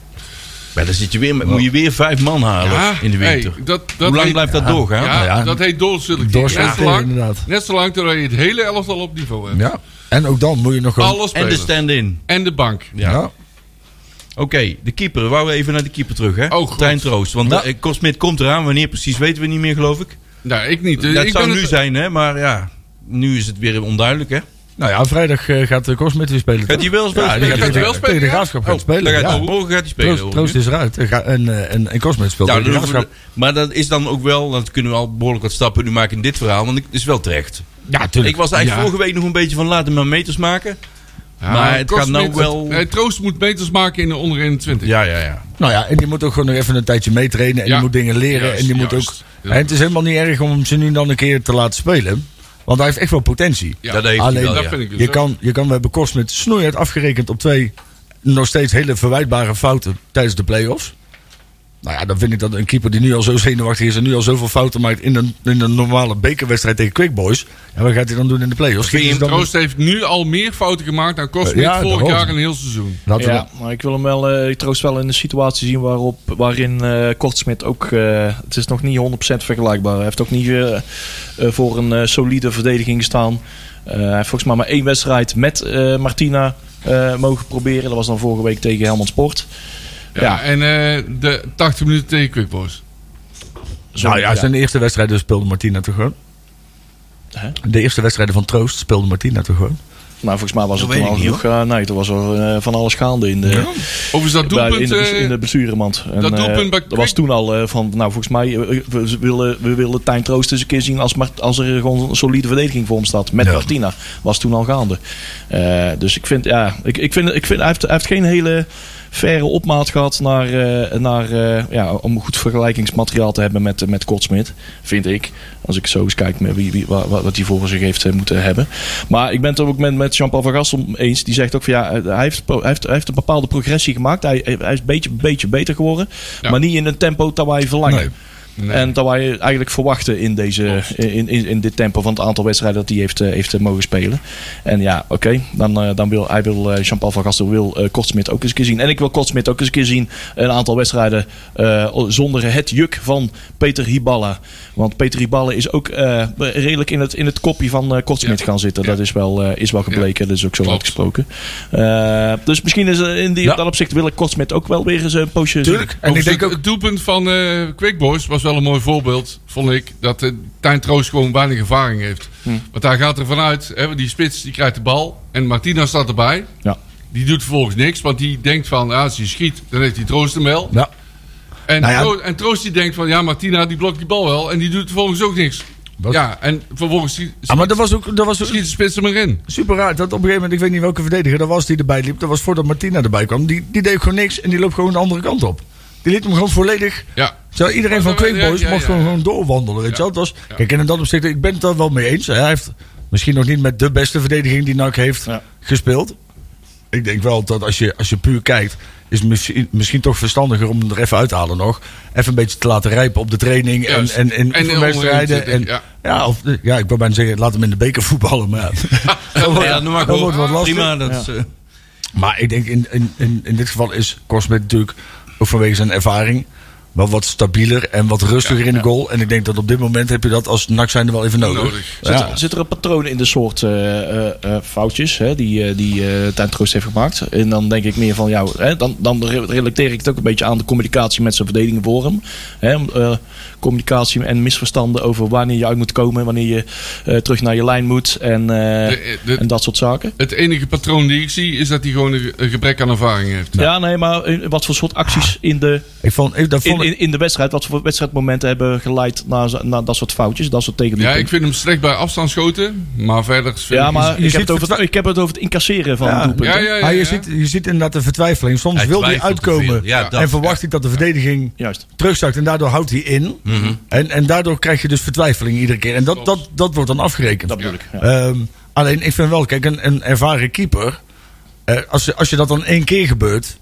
S2: Maar dan zit je weer, met- moet je weer vijf man halen
S4: Ja,
S2: in de
S4: Ah, hey,
S2: winter.
S4: dat, dat
S2: Hoe lang
S4: heet-
S2: blijft dat
S4: Ja,
S2: doorgaan? Nou
S3: ja.
S4: dat heet doorselecteren.
S3: Doorselecteren,
S4: Net zolang,
S3: inderdaad.
S4: net zolang totdat je het hele elftal op niveau hebt.
S3: Ja. En ook dan moet je nog gewoon...
S4: Alle
S2: En de
S4: spelers. En
S2: stand-in.
S4: de, bank.
S3: Ja.
S2: Oké, de keeper. We wouden even naar de keeper terug, hè?
S4: Oh, goed.
S2: Tijn Troost. Want
S3: Ja.
S2: eh, Korsmit komt eraan. Wanneer precies weten we niet meer, geloof ik.
S4: Nou, ik niet.
S2: dat
S4: ik
S2: zou
S4: ben
S2: nu
S4: het-
S2: zijn, hè? Maar ja, nu is het weer onduidelijk, hè?
S3: Nou ja, vrijdag eh, gaat de Kosmet weer spelen.
S2: Gaat hij wel spelen?
S3: Ja, die
S2: Gaat
S3: gaat
S2: hij
S3: tegen-
S4: wel spelen,
S3: Tegen de
S4: ja?
S3: Graafschap gaat
S2: Oh,
S3: spelen,
S2: dan gaat-
S3: ja.
S2: oh, morgen gaat hij spelen.
S3: Troost,
S2: hoor ik
S3: Troost
S2: nu.
S3: is eruit. En, ga- en, eh, en, en Kosmet speelt
S2: Ja,
S3: tegen de
S2: dan hoeven we-
S3: Graafschap.
S2: maar dat is dan ook wel, dat kunnen we al behoorlijk wat stappen nu maken in dit verhaal, want ik- het is wel terecht.
S3: Ja,
S2: Ik
S3: tuurlijk.
S2: was eigenlijk
S4: Ja.
S2: vorige week nog een beetje van laten maar meters maken.
S4: Ja,
S2: Maar het
S4: Kost
S2: gaat nou
S4: moet-
S2: wel-
S4: Nee, Troost moet beters maken in de onder 21.
S2: Ja, ja, ja.
S3: Nou ja, en die moet ook gewoon nog even een tijdje meetrainen. En
S4: Ja.
S3: die moet dingen leren.
S4: Juist,
S3: en die moet
S4: juist.
S3: ook...
S4: Ja.
S3: En het is helemaal niet erg om hem ze nu dan een keer te laten spelen. Want hij heeft echt wel potentie.
S4: Ja.
S2: Dat heeft
S3: Alleen-
S2: hij wel,
S4: dat
S2: ja.
S4: vind ik dus
S3: Je
S4: ook.
S3: kan, je kan, we hebben Kosmet snoeihard afgerekend op twee nog steeds hele verwijtbare fouten tijdens de play-offs. Nou ja, dan vind ik dat een keeper die nu al zo zenuwachtig is en nu al zoveel fouten maakt in een, in een normale bekerwedstrijd tegen Quick Boys. En wat gaat hij dan doen in de play-offs?
S2: Vind je
S3: Schieten ze dus dan-
S4: Troost heeft nu al meer fouten gemaakt dan Kost
S3: Ja,
S4: vorig
S3: daarom.
S4: jaar een heel seizoen.
S3: Laten we
S5: Ja, maar ik wil hem wel, eh, ik troost wel in een situatie zien waarop, waarin eh Kortsmit ook, eh, het is nog niet 100% vergelijkbaar. Hij heeft ook niet eh, eh, voor een eh, solide verdediging gestaan. Eh, hij heeft volgens mij maar één wedstrijd met eh, Martina eh, mogen proberen. Dat was dan vorige week tegen Helmond Sport.
S4: Ja, en eh, de 80 minuten tegen Quick Boys.
S3: dan- nou ja, zijn eerste wedstrijden speelde Martina toch gewoon?
S5: Hè?
S3: De eerste wedstrijden van Troost speelde Martina toch gewoon?
S5: Maar nou, volgens mij was
S2: Dat
S5: het toen
S2: weet
S5: al
S2: ik niet,
S5: genoeg. eh, nee, er was al eh, van alles gaande in de,
S4: Overigens dat
S5: Bij-
S4: doelpunt...
S5: in, de, bes-
S4: eh,
S5: in de besturenmand. En,
S4: dat
S5: eh,
S4: doelpunt bij
S5: dat was
S4: Quick-
S5: toen al eh, van, nou volgens mij, eh, we, we willen, we willen Tijn Troost eens een keer zien als, Mar- als er gewoon een solide verdediging voor hem staat. Met
S3: Ja.
S5: Martina. Was toen al gaande. Eh, dus ik vind, ja, ik, ik vind, ik vind hij, heeft, hij heeft geen hele verre opmaat gehad naar, eh, naar eh, ja, om goed vergelijkingsmateriaal te hebben met, eh, met Kortsmit, vind ik. Als ik zo eens kijk met wie, wie, wa- wa- wat hij voor zich heeft eh, moeten hebben. Maar ik ben het ook met, met Jean-Paul van Gastel eens. Die zegt ook van ja, eh, hij heeft, pro- hij heeft, hij heeft een bepaalde progressie gemaakt. Hij, hij is een beetje, beetje beter geworden.
S4: Ja.
S5: Maar niet in een tempo dat wij verlangen.
S3: Nee.
S4: Nee.
S5: En dat wij eigenlijk verwachten in, deze, in, in, in dit tempo van het aantal wedstrijden dat hij heeft, eh, heeft eh, mogen spelen. En ja, oké, dan, eh, dan wil hij wil, eh, Jean-Paul van Gastel wil eh, Kortsmit ook eens een keer zien. En ik wil Kortsmit ook eens een keer zien. Een aantal wedstrijden eh, zonder het juk van Peter Hiballa. Want Peter Hiballa is ook eh, redelijk in het, in het kopje van eh Kortsmit
S4: Ja.
S5: gaan zitten.
S4: Ja.
S5: Dat is wel, eh, is wel gebleken. Dat is ook zo
S4: Klopt.
S5: uitgesproken. Eh, dus misschien is er in die,
S3: Ja.
S5: op dat opzicht wil ik Kortsmit ook wel weer eens een poosje
S3: Tuurlijk. En ik denk ook,
S4: Het doelpunt van eh Quick Boys was wel een mooi voorbeeld, vond ik. Dat eh, Tijn Troost gewoon weinig ervaring heeft.
S5: Hm.
S4: Want hij gaat er vanuit, hè, want die spits die krijgt de bal. En Martina staat erbij.
S5: Ja.
S4: Die doet vervolgens niks, want die denkt van, ah, als hij schiet, dan heeft hij Troost hem wel.
S3: Ja.
S4: En,
S3: Nou ja.
S4: Tro- en Troost die denkt van, ja, Martina die blokt die bal wel. En die doet vervolgens ook niks.
S3: Dat-
S4: Ja, en vervolgens schiet,
S3: Ah, maar dat was ook dat was ook
S4: schiet de spits hem erin.
S3: super raar. Dat op een gegeven moment, ik weet niet welke verdediger dat was die erbij liep. Dat was voordat Martina erbij kwam. Die, die deed gewoon niks en die loopt gewoon de andere kant op. Die liet hem gewoon volledig.
S4: Ja.
S3: Zo, iedereen van
S4: Ja, ja,
S3: Quake Boys
S4: ja, ja,
S3: mocht gewoon,
S4: ja.
S3: gewoon doorwandelen. Weet je wel? Het was, Kijk, en in dat opzicht, ik ben het daar wel mee eens. Hij heeft misschien nog niet met de beste verdediging die NAC heeft
S5: Ja.
S3: gespeeld. Ik denk wel dat als je, als je puur kijkt, is misschien, misschien toch verstandiger om hem er even uit te halen nog. Even een beetje te laten rijpen op de training en,
S4: Juist.
S3: en in
S4: En
S3: oefenwedstrijden.
S4: onderin
S3: wedstrijden.
S4: zitten,
S3: En, ja.
S4: ja.
S3: of, ja, ik wou bijna zeggen, laat hem in de beker voetballen.
S4: [laughs]
S3: Maar dat wordt,
S2: noem maar
S3: dat
S2: op.
S3: wordt wat lastig.
S2: Prima, dat is, eh,
S3: Maar ik denk in, in, in, in dit geval is Korsmet natuurlijk ook vanwege zijn ervaring wel wat stabieler en wat rustiger in de goal. En ik denk dat op dit moment heb je dat als NAC zijnde wel even nodig.
S4: Nodig.
S3: Ja.
S5: Zit, er, zit er een patroon in de soort eh, eh, eh, foutjes hè, die, eh die eh Tijn Troost heeft gemaakt? En dan denk ik meer van jou, hè, dan, dan re- relateer ik het ook een beetje aan de communicatie met zijn verdediging voor hem. Hè, om, eh, communicatie en misverstanden over wanneer je uit moet komen, wanneer je eh, terug naar je lijn moet en, eh,
S4: De- de-
S5: en dat soort zaken.
S4: Het enige patroon die ik zie, is dat hij gewoon een ge- een gebrek aan ervaring heeft.
S5: Ja, nee, maar eh, wat voor soort acties in de,
S3: Ik vond, ik, dat
S5: in,
S3: vond ik-
S5: in, in de wedstrijd, wat voor wedstrijdmomenten hebben geleid naar, zo- naar dat soort foutjes, dat soort
S4: Ja,
S5: tegendoelpunten?
S4: ik vind hem slecht bij afstandsschoten, maar verder vind
S5: Ja,
S4: ik-
S5: maar
S3: je
S5: ik,
S3: ziet
S5: heb het over, het- ik heb het over het incasseren van
S3: Ja.
S5: doelpunten.
S4: Ja, ja, ja,
S3: Ah, je,
S4: ja.
S3: Ziet, je ziet inderdaad de vertwijfeling. Soms
S2: Hij
S3: wil hij
S2: twijfelt te
S3: uitkomen
S2: veel. Ja, dat.
S3: en verwacht hij dat de verdediging
S5: Juist.
S3: terugzakt. En daardoor houdt hij in.
S5: Mhm.
S3: en, en daardoor krijg je dus vertwijfeling iedere keer. En dat, dat, dat wordt dan afgerekend.
S5: Dat bedoel ik, ja.
S3: Ehm, alleen ik vind wel, kijk, een, een ervaren keeper. eh, als, je, als je dat dan één keer gebeurt.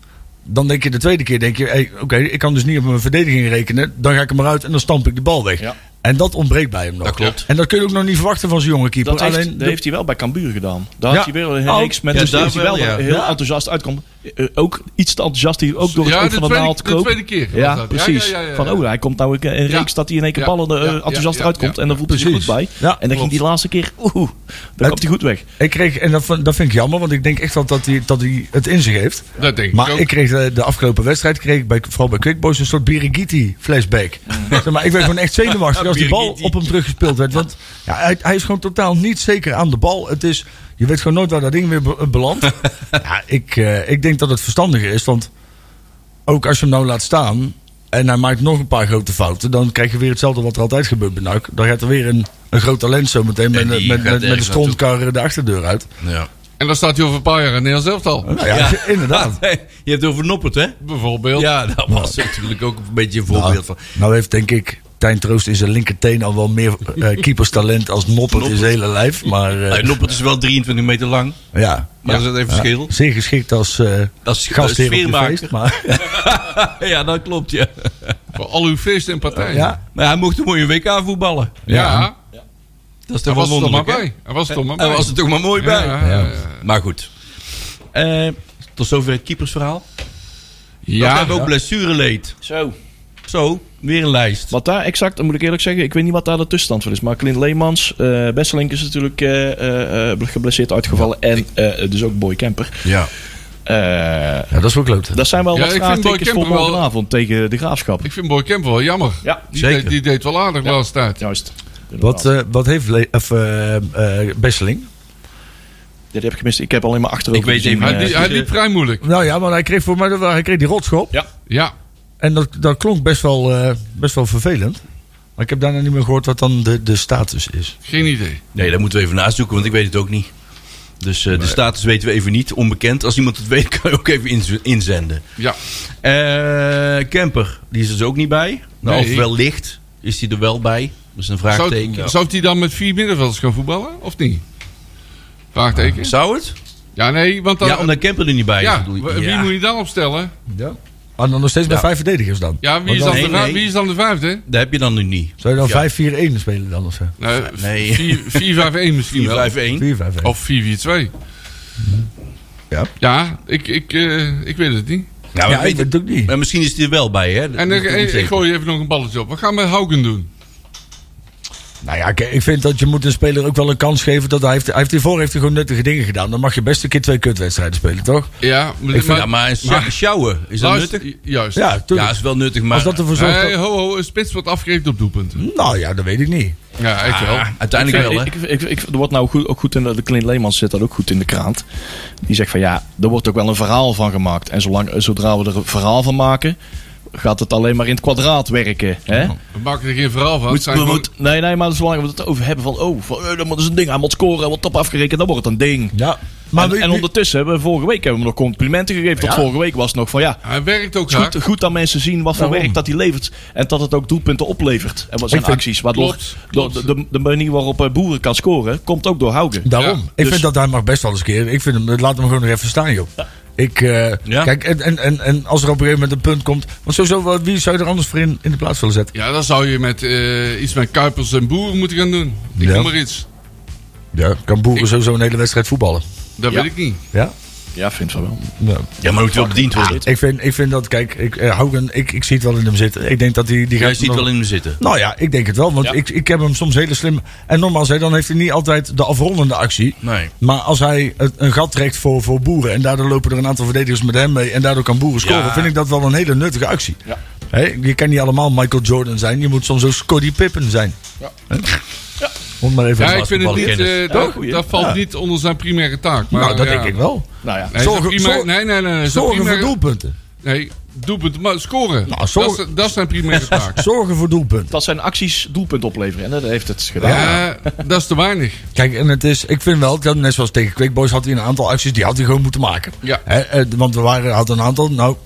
S3: Dan denk je de tweede keer, denk je, hey, oké, ik kan dus niet op mijn verdediging rekenen. Dan ga ik hem eruit en dan stamp ik de bal weg.
S5: Ja.
S3: En dat ontbreekt bij hem nog.
S2: Dat klopt.
S3: En dat kun je ook nog niet verwachten van zo'n jonge keeper.
S5: Dat, heeft,
S3: alleen
S5: dat
S3: de-
S5: heeft hij wel bij Cambuur gedaan. Daar
S3: Ja.
S5: had hij weer een
S3: Oh,
S5: reeks met
S2: ja,
S5: dus
S2: daar
S5: is hij
S2: wel,
S5: wel
S2: ja.
S5: heel
S3: Ja.
S5: enthousiast uitkomt. Eh, Ook iets te enthousiast, die ook door het
S4: Ja,
S5: oog
S4: de
S5: van de
S4: tweede-
S5: naald
S4: de
S5: kroop.
S4: tweede keer was
S5: Ja,
S4: dat. Ja,
S5: precies.
S4: ja, ja, ja, ja.
S5: Van, oh, hij komt nou een, een reeks
S4: Ja.
S5: dat hij in één keer
S4: Ja,
S5: ballen eh,
S4: ja, ja,
S5: enthousiast
S4: ja,
S5: uitkomt.
S4: ja.
S5: en dan voelt hij er goed
S3: Precies.
S5: bij.
S3: Ja,
S5: en dan ging
S3: klopt.
S5: die laatste keer, oeh, dan
S3: Het-
S5: komt hij goed weg.
S3: Ik kreeg, en dat, vond- dat vind ik jammer, want ik denk echt wel dat hij, dat hij het in zich heeft.
S4: Dat denk ik
S3: maar
S4: ook.
S3: ik kreeg eh, de, de afgelopen wedstrijd, kreeg ik bij, vooral bij Quickboys, een soort Birigiti flashback. [laughs] Zeg maar ik werd gewoon echt zenuwachtig als die bal
S2: Birigiti.
S3: op hem teruggespeeld werd. Want ja, hij, hij is gewoon totaal niet zeker aan de bal. Het is, je weet gewoon nooit waar dat ding weer be-
S2: [laughs]
S3: eh, belandt. ja, ik, eh, ik denk dat het verstandiger is, want ook als je hem nou laat staan en hij maakt nog een paar grote fouten, dan krijg je weer hetzelfde wat er altijd gebeurt bij NAC. Dan gaat er weer een, een groot talent zo meteen met,
S2: En
S3: met,
S2: die
S3: met,
S2: gaat
S3: met,
S2: ergens
S3: een strontkar de achterdeur uit.
S2: [laughs] ja.
S4: En dan staat hij over een paar jaar in Nederland zelf al.
S3: Nou ja, [laughs] inderdaad.
S2: Je hebt het over Noppert, hè?
S4: Bijvoorbeeld.
S2: Ja, dat was natuurlijk ook een beetje een voorbeeld
S3: Nou,
S2: van.
S3: nou heeft denk ik Tijn Troost in zijn linkerteen al wel meer
S2: [laughs]
S3: eh, keeperstalent als Noppert in zijn hele lijf. Maar eh,
S2: Nou, Noppert is wel 23 meter lang,
S3: ja,
S2: maar dat is even verschil. [laughs]
S3: zeer geschikt als, eh
S2: Als
S3: gastheer op je
S2: sfeermaker.
S3: feest.
S2: [laughs]
S3: Maar,
S2: ja, dat klopt, ja.
S4: Voor al uw feesten en partijen.
S3: ja,
S2: Maar hij mocht een mooie WK voetballen.
S4: Ja,
S2: Dat is toch
S4: Hij was
S2: wel
S4: er toch maar
S2: wonderlijk,
S4: bij. Hij was er toch maar bij.
S2: Hij was er toch maar mooi bij.
S4: Ja, ja, ja.
S2: Maar goed. Eh, tot zover het keepersverhaal. Ja, we
S4: Ja,
S2: hebben ook blessureleed.
S5: Zo.
S2: Zo, weer een lijst.
S5: Wat daar exact, dan moet ik eerlijk zeggen, ik weet niet wat daar de tussenstand voor is. Maar Clint Leemans, eh Besselink is natuurlijk eh, eh, eh, geblesseerd uitgevallen. en eh, dus ook Boy Kemper.
S2: Ja.
S5: Eh,
S3: ja, dat is wel klote.
S5: dat zijn wel
S4: Ja,
S5: wat
S4: ik vind Boy
S5: vraagtekens voor
S4: Kemper wel-
S5: morgenavond tegen de Graafschap.
S4: ik vind Boy Campbell wel jammer.
S5: Ja,
S4: die,
S2: zeker.
S4: Deed, die deed wel aardig de laatste tijd.
S5: Juist.
S3: Wat, eh, wat heeft Le- of, eh, eh, Besseling?
S5: Dit heb ik gemist. Ik heb alleen maar achterover
S2: Ik weet
S5: gezien,
S2: even
S4: Hij,
S5: eh,
S4: die- hij liep vrij moeilijk.
S3: Nou ja, maar hij kreeg voor mij hij kreeg die rotschop.
S5: Ja.
S4: Ja,
S3: En dat, dat klonk best wel, eh, best wel vervelend. Maar ik heb daarna niet meer gehoord wat dan de, de status is.
S4: geen idee.
S2: Nee, dat moeten we even nazoeken, want ik weet het ook niet. Dus eh, de status weten we even niet, onbekend. Als iemand het weet, [laughs] kan je ook even inz- inzenden.
S4: Ja,
S2: Eh Kemper, die is er dus ook niet bij. Nou,
S4: Nee.
S2: Of wellicht is hij er wel bij. Dat is een vraagteken.
S4: zou, zou hij dan met vier middenvelders gaan voetballen? Of niet? Vraagteken.
S2: Zou het?
S4: Ja, nee, want dan...
S2: Ja, omdat Kemper er niet bij is.
S4: Ja,
S2: bedoel ik.
S4: wie
S2: Ja.
S4: moet je dan opstellen?
S3: Ja. Maar dan nog steeds bij vijf verdedigers dan.
S4: Ja, wie is,
S3: Want
S4: dan
S3: dan-
S4: de,
S2: Nee,
S4: vijf-
S2: nee.
S4: wie is dan de vijfde?
S2: Dat heb je dan nu niet.
S3: Zou je dan
S2: Ja.
S3: 5-4-1 spelen dan of zo?
S4: Nou,
S2: nee.
S4: 4-5-1 misschien wel.
S2: 4-5-1.
S3: 4-5-1.
S4: Of 4-4-2.
S3: Ja.
S4: Ja, ik, ik, eh, ik weet het niet.
S2: Nou,
S3: ja,
S2: weet
S3: ik weet het ook niet.
S2: Maar misschien is hij er wel bij, hè?
S4: En ik, ik, ik gooi even nog een balletje op. Wat gaan we met Hauken doen?
S3: Nou ja, kijk, ik vind dat je moet een speler ook wel een kans geven. Dat hij heeft, hij heeft hiervoor heeft hij gewoon nuttige dingen gedaan. Dan mag je best een keer twee kutwedstrijden spelen, toch?
S4: Ja, maar...
S3: vind-
S2: Ja, maar een
S4: maar-
S2: sjouwen, is dat
S4: Luister-
S2: nuttig?
S4: Juist.
S3: Ja,
S2: Ja,
S3: tuurlijk.
S2: is wel nuttig, maar...
S3: Als dat ervoor zorgt
S4: Hey,
S3: dat-
S4: ho, ho, een spits wordt afgerekend op doelpunten.
S3: Nou ja, dat weet ik niet.
S4: Ja, ik wel.
S2: Ah, uiteindelijk wel, hè?
S5: Ik, ik, ik- er wordt nou goed, ook goed in de, de Clint Leemans zit dat ook goed in de krant. Die zegt van ja, er wordt ook wel een verhaal van gemaakt. En zolang, zodra we er een verhaal van maken, gaat het alleen maar in het kwadraat werken. Hè?
S4: We maken er geen verhaal van.
S5: Moet-
S4: Het zijn
S5: we
S4: gewoon-
S5: moet- nee, nee, maar zolang we het over hebben van oh, van, eh, dan moet het een ding, hij moet scoren, hij wordt top afgerekend, dan wordt het een ding.
S3: Ja. Maar
S5: en,
S3: wie-
S5: en
S3: wie-
S5: ondertussen hebben we vorige week hebben we nog complimenten gegeven. Tot vorige week was het nog van ja.
S4: Hij werkt ook
S5: Het is
S4: hard.
S5: goed, goed dat mensen zien wat voor
S3: Daarom.
S5: werk dat hij levert. En dat het ook doelpunten oplevert. En wat zijn
S3: Ik vind-
S5: acties. Waardoor
S4: Klopt,
S5: door-
S4: klopt.
S5: De, de, de manier waarop eh, Boeren kan scoren, komt ook door Haugen.
S3: Daarom.
S4: Ja,
S3: ik
S5: dus-
S3: vind dat hij mag best wel eens een keer. Ik vind hem, laat hem gewoon nog even staan, joh. Ik, eh,
S2: Ja.
S3: Kijk, en, en, en, en als er op een gegeven moment een punt komt. Want sowieso, wat- wie zou je er anders voor in, in de plaats willen zetten?
S4: Ja, dan zou je met, eh, iets met Kuipers en Boer moeten gaan doen. Ik
S3: Ja.
S4: noem maar iets.
S3: Ja, kan Boeren sowieso een hele wedstrijd voetballen.
S4: Dat
S5: Ja.
S4: weet ik niet.
S3: Ja?
S5: Ja, vind van wel.
S3: ja.
S2: Ja, maar moet wel bediend worden.
S3: Ik, vind, ik vind dat, kijk, ik, eh, Haugen, ik, ik zie het wel in hem zitten. Ik denk dat hij... Die
S2: Jij
S3: gaat
S2: ziet
S3: nog-
S2: wel in hem zitten.
S3: Nou ja, ik denk het wel. Want
S5: Ja.
S3: ik, ik heb hem soms hele slim. En normaal zei dan heeft hij niet altijd de afrondende actie.
S2: Nee.
S3: Maar als hij het- een gat trekt voor, voor boeren. en daardoor lopen er een aantal verdedigers met hem mee. en daardoor kan boeren scoren.
S2: Ja.
S3: vind ik dat wel een hele nuttige actie.
S5: Ja.
S3: Hè, je kan niet allemaal Michael Jordan zijn. Je moet soms ook Scottie Pippen zijn. Hè? Om maar even.
S4: Ja,
S2: een
S4: ik vind het niet...
S2: basketbalkennis.
S4: eh, dat,
S5: goeie.
S4: dat valt
S3: Ja.
S4: niet onder zijn primaire taak. Maar,
S3: nou, dat
S4: ja.
S3: denk ik wel.
S5: Nou ja.
S4: Nee, zijn
S3: Zorgen-
S4: primaire-
S3: zor-
S4: nee, nee, nee. nee, zijn
S3: Zorgen voor
S4: primaire-
S3: doelpunten.
S4: Nee, doelpunt, maar scoren.
S3: Nou, zorg-
S4: dat, is, dat is zijn primaire
S3: [laughs]
S4: taak.
S3: Zorgen voor doelpunten.
S5: Dat zijn acties doelpunt opleveren. En dat heeft het gedaan.
S4: Ja, Eh, dat is te weinig.
S3: Kijk, en het is, ik vind wel, dat net zoals tegen Quick Boys had hij een aantal acties, die had hij gewoon moeten maken.
S4: Ja.
S3: Hè, eh, want we waren, hadden een aantal, nou,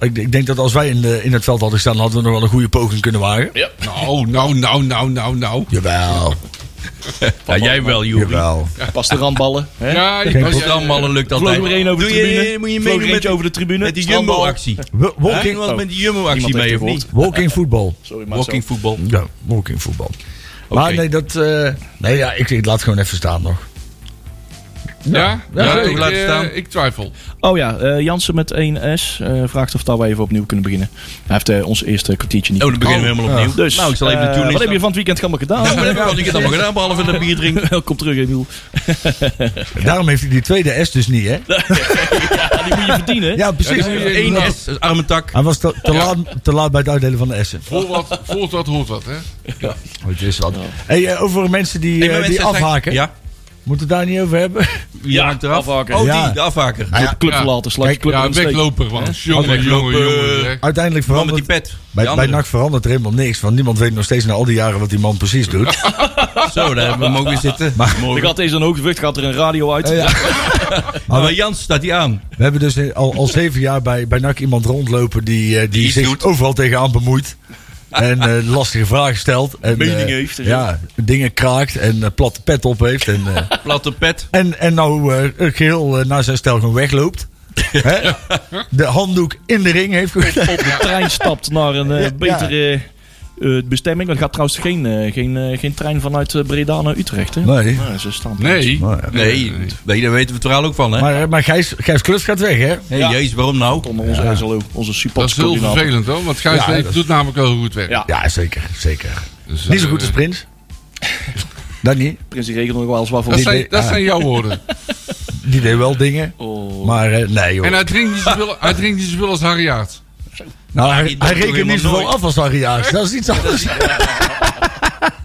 S3: ik, ik denk dat als wij in, de, in het veld hadden gestaan, hadden we nog wel een goede poging kunnen wagen.
S4: Nou, nou, nou, nou, nou, nou.
S3: Jawel,
S2: Ja, jij wel, Joeri.
S3: jawel.
S5: Pas de randballen. Hè?
S4: Ja, ik
S3: Geen
S4: was-
S2: Als het allemaal lukt
S5: Vloog
S2: altijd.
S5: er één over de
S2: Doe je- eh,
S5: tribune.
S2: Moet je
S5: Vloog er
S2: meedoen met
S5: eentje
S2: die-
S5: over de tribune.
S2: met die
S5: Strandbal.
S2: Jumbo-actie? Oh.
S3: Wa-
S2: Ging
S3: Walking,
S2: wat met die Jumbo-actie
S5: Iemand
S2: mee,
S5: heeft
S2: of niet?
S5: gehoord.
S3: walking voetbal.
S5: Sorry, maar
S2: Walking voetbal.
S3: Ja, walking voetbal.
S2: Oh, Oké.
S3: Maar nee, dat, eh, nee ja, ik, ik laat het gewoon even staan nog.
S4: Ja,
S3: Ja,
S4: ja,
S2: ik
S4: ik,
S2: laat
S4: eh,
S2: staan.
S4: ik twijfel.
S5: Oh ja, eh, Jansen met 1S eh, vraagt of dat we even opnieuw kunnen beginnen. Hij heeft eh, ons eerste kwartiertje niet.
S2: Oh, dan beginnen we
S4: Oh,
S2: helemaal opnieuw.
S5: dus,
S2: nou, ik zal even de
S5: eh,
S2: tune
S5: Wat heb je
S2: instaan.
S5: van het weekend allemaal gedaan?
S2: Nou, maar
S5: [laughs]
S2: dat heb ik al- ik heb het allemaal gedaan, behalve dat bier drinken.
S5: Welkom terug, Emiel.
S3: Daarom heeft hij die tweede S dus niet, hè?
S5: Ja, die moet je verdienen.
S3: Ja, precies.
S4: Ja, die moet je-
S2: 1 S, dat is arme tak.
S3: Hij was te, te laat, te laat bij het uitdelen van de S'en.
S4: Voor wat, voor wat hoort wat, hè?
S3: Het is wat. Hey, eh, over mensen die,
S2: Hey,
S3: eh,
S2: maar mensen
S3: die
S2: zijn-
S3: afhaken.
S2: Ja,
S3: Moeten we het daar niet over hebben?
S2: wie haakt eraf?
S5: afhaken.
S2: Oh,
S3: Ja.
S2: die, de afhaker.
S3: Nou ja,
S5: Clubverlater, slash
S3: Kijk,
S5: club
S4: Ja,
S5: in
S4: een
S5: de steek.
S4: wegloper, man. Jongen, jongen, jongen. zeg.
S3: Uiteindelijk
S2: Man met
S3: verandert
S2: die pet. Die
S3: Bij, bij
S2: andere.
S3: NAC verandert er helemaal niks. Want niemand weet nog steeds na al die jaren wat die man precies doet.
S2: Zo, daar hebben we
S3: [laughs]
S2: hem ook weer zitten. Maar,
S5: Ik had deze een hoge vlucht, gaat er een radio uit.
S3: Eh, ja.
S2: maar bij Jans staat hij aan.
S3: We hebben dus al, al zeven jaar bij, bij NAC iemand rondlopen die, eh, die,
S2: iets
S3: zich
S2: doet.
S3: overal tegenaan bemoeit. En
S2: [laughs]
S3: eh, lastige vragen stelt. En,
S5: Mening
S3: eh,
S5: heeft, dus
S3: ja, dingen kraakt en eh, platte pet op heeft. En, eh,
S2: [laughs] Platte pet.
S3: en, en nou eh, het geheel eh, naar zijn stijl gewoon
S2: [laughs]
S3: wegloopt. Hè? De handdoek in de ring heeft gegooid.
S5: Op de trein stapt naar een eh,
S3: Ja.
S5: betere eh, bestemming. Er gaat trouwens geen, eh, geen, eh, geen trein vanuit eh, Breda naar Utrecht. Hè?
S3: [laughs] Nee.
S5: Nee, ze staan
S4: Nee.
S3: Nou ja.
S2: Nee, nee, daar weten we het verhaal ook van, hè?
S3: Maar, eh, maar Gijs, Gijs Klus gaat weg, hè?
S2: Hé, jezus, waarom nou?
S5: Onder onze SLO, onze
S4: Dat is heel
S5: supporterscoördinator.
S4: vervelend, hoor. Want Gijs
S3: Ja,
S4: Leek
S3: dat is-
S4: doet namelijk wel goed werk.
S5: Ja.
S3: Ja, zeker. zeker.
S4: Dus,
S3: Niet zo
S4: eh,
S3: goed als Prins. Dat niet.
S5: Prins die regelt nog wel eens wat voor
S4: Dat
S3: Die
S5: ons.
S4: zijn,
S3: deed-
S4: dat
S3: ah.
S4: zijn jouw woorden.
S3: Die deed wel dingen.
S5: Oh.
S3: Maar eh, nee, joh.
S4: En hij drinkt niet zoveel, hij drinkt niet zoveel als Harry Aert.
S3: nou, hij,
S2: die doet
S3: hij
S2: toch
S3: rekent niet
S2: helemaal
S3: zoveel af als Harry Jaars. Dat is iets anders. [laughs]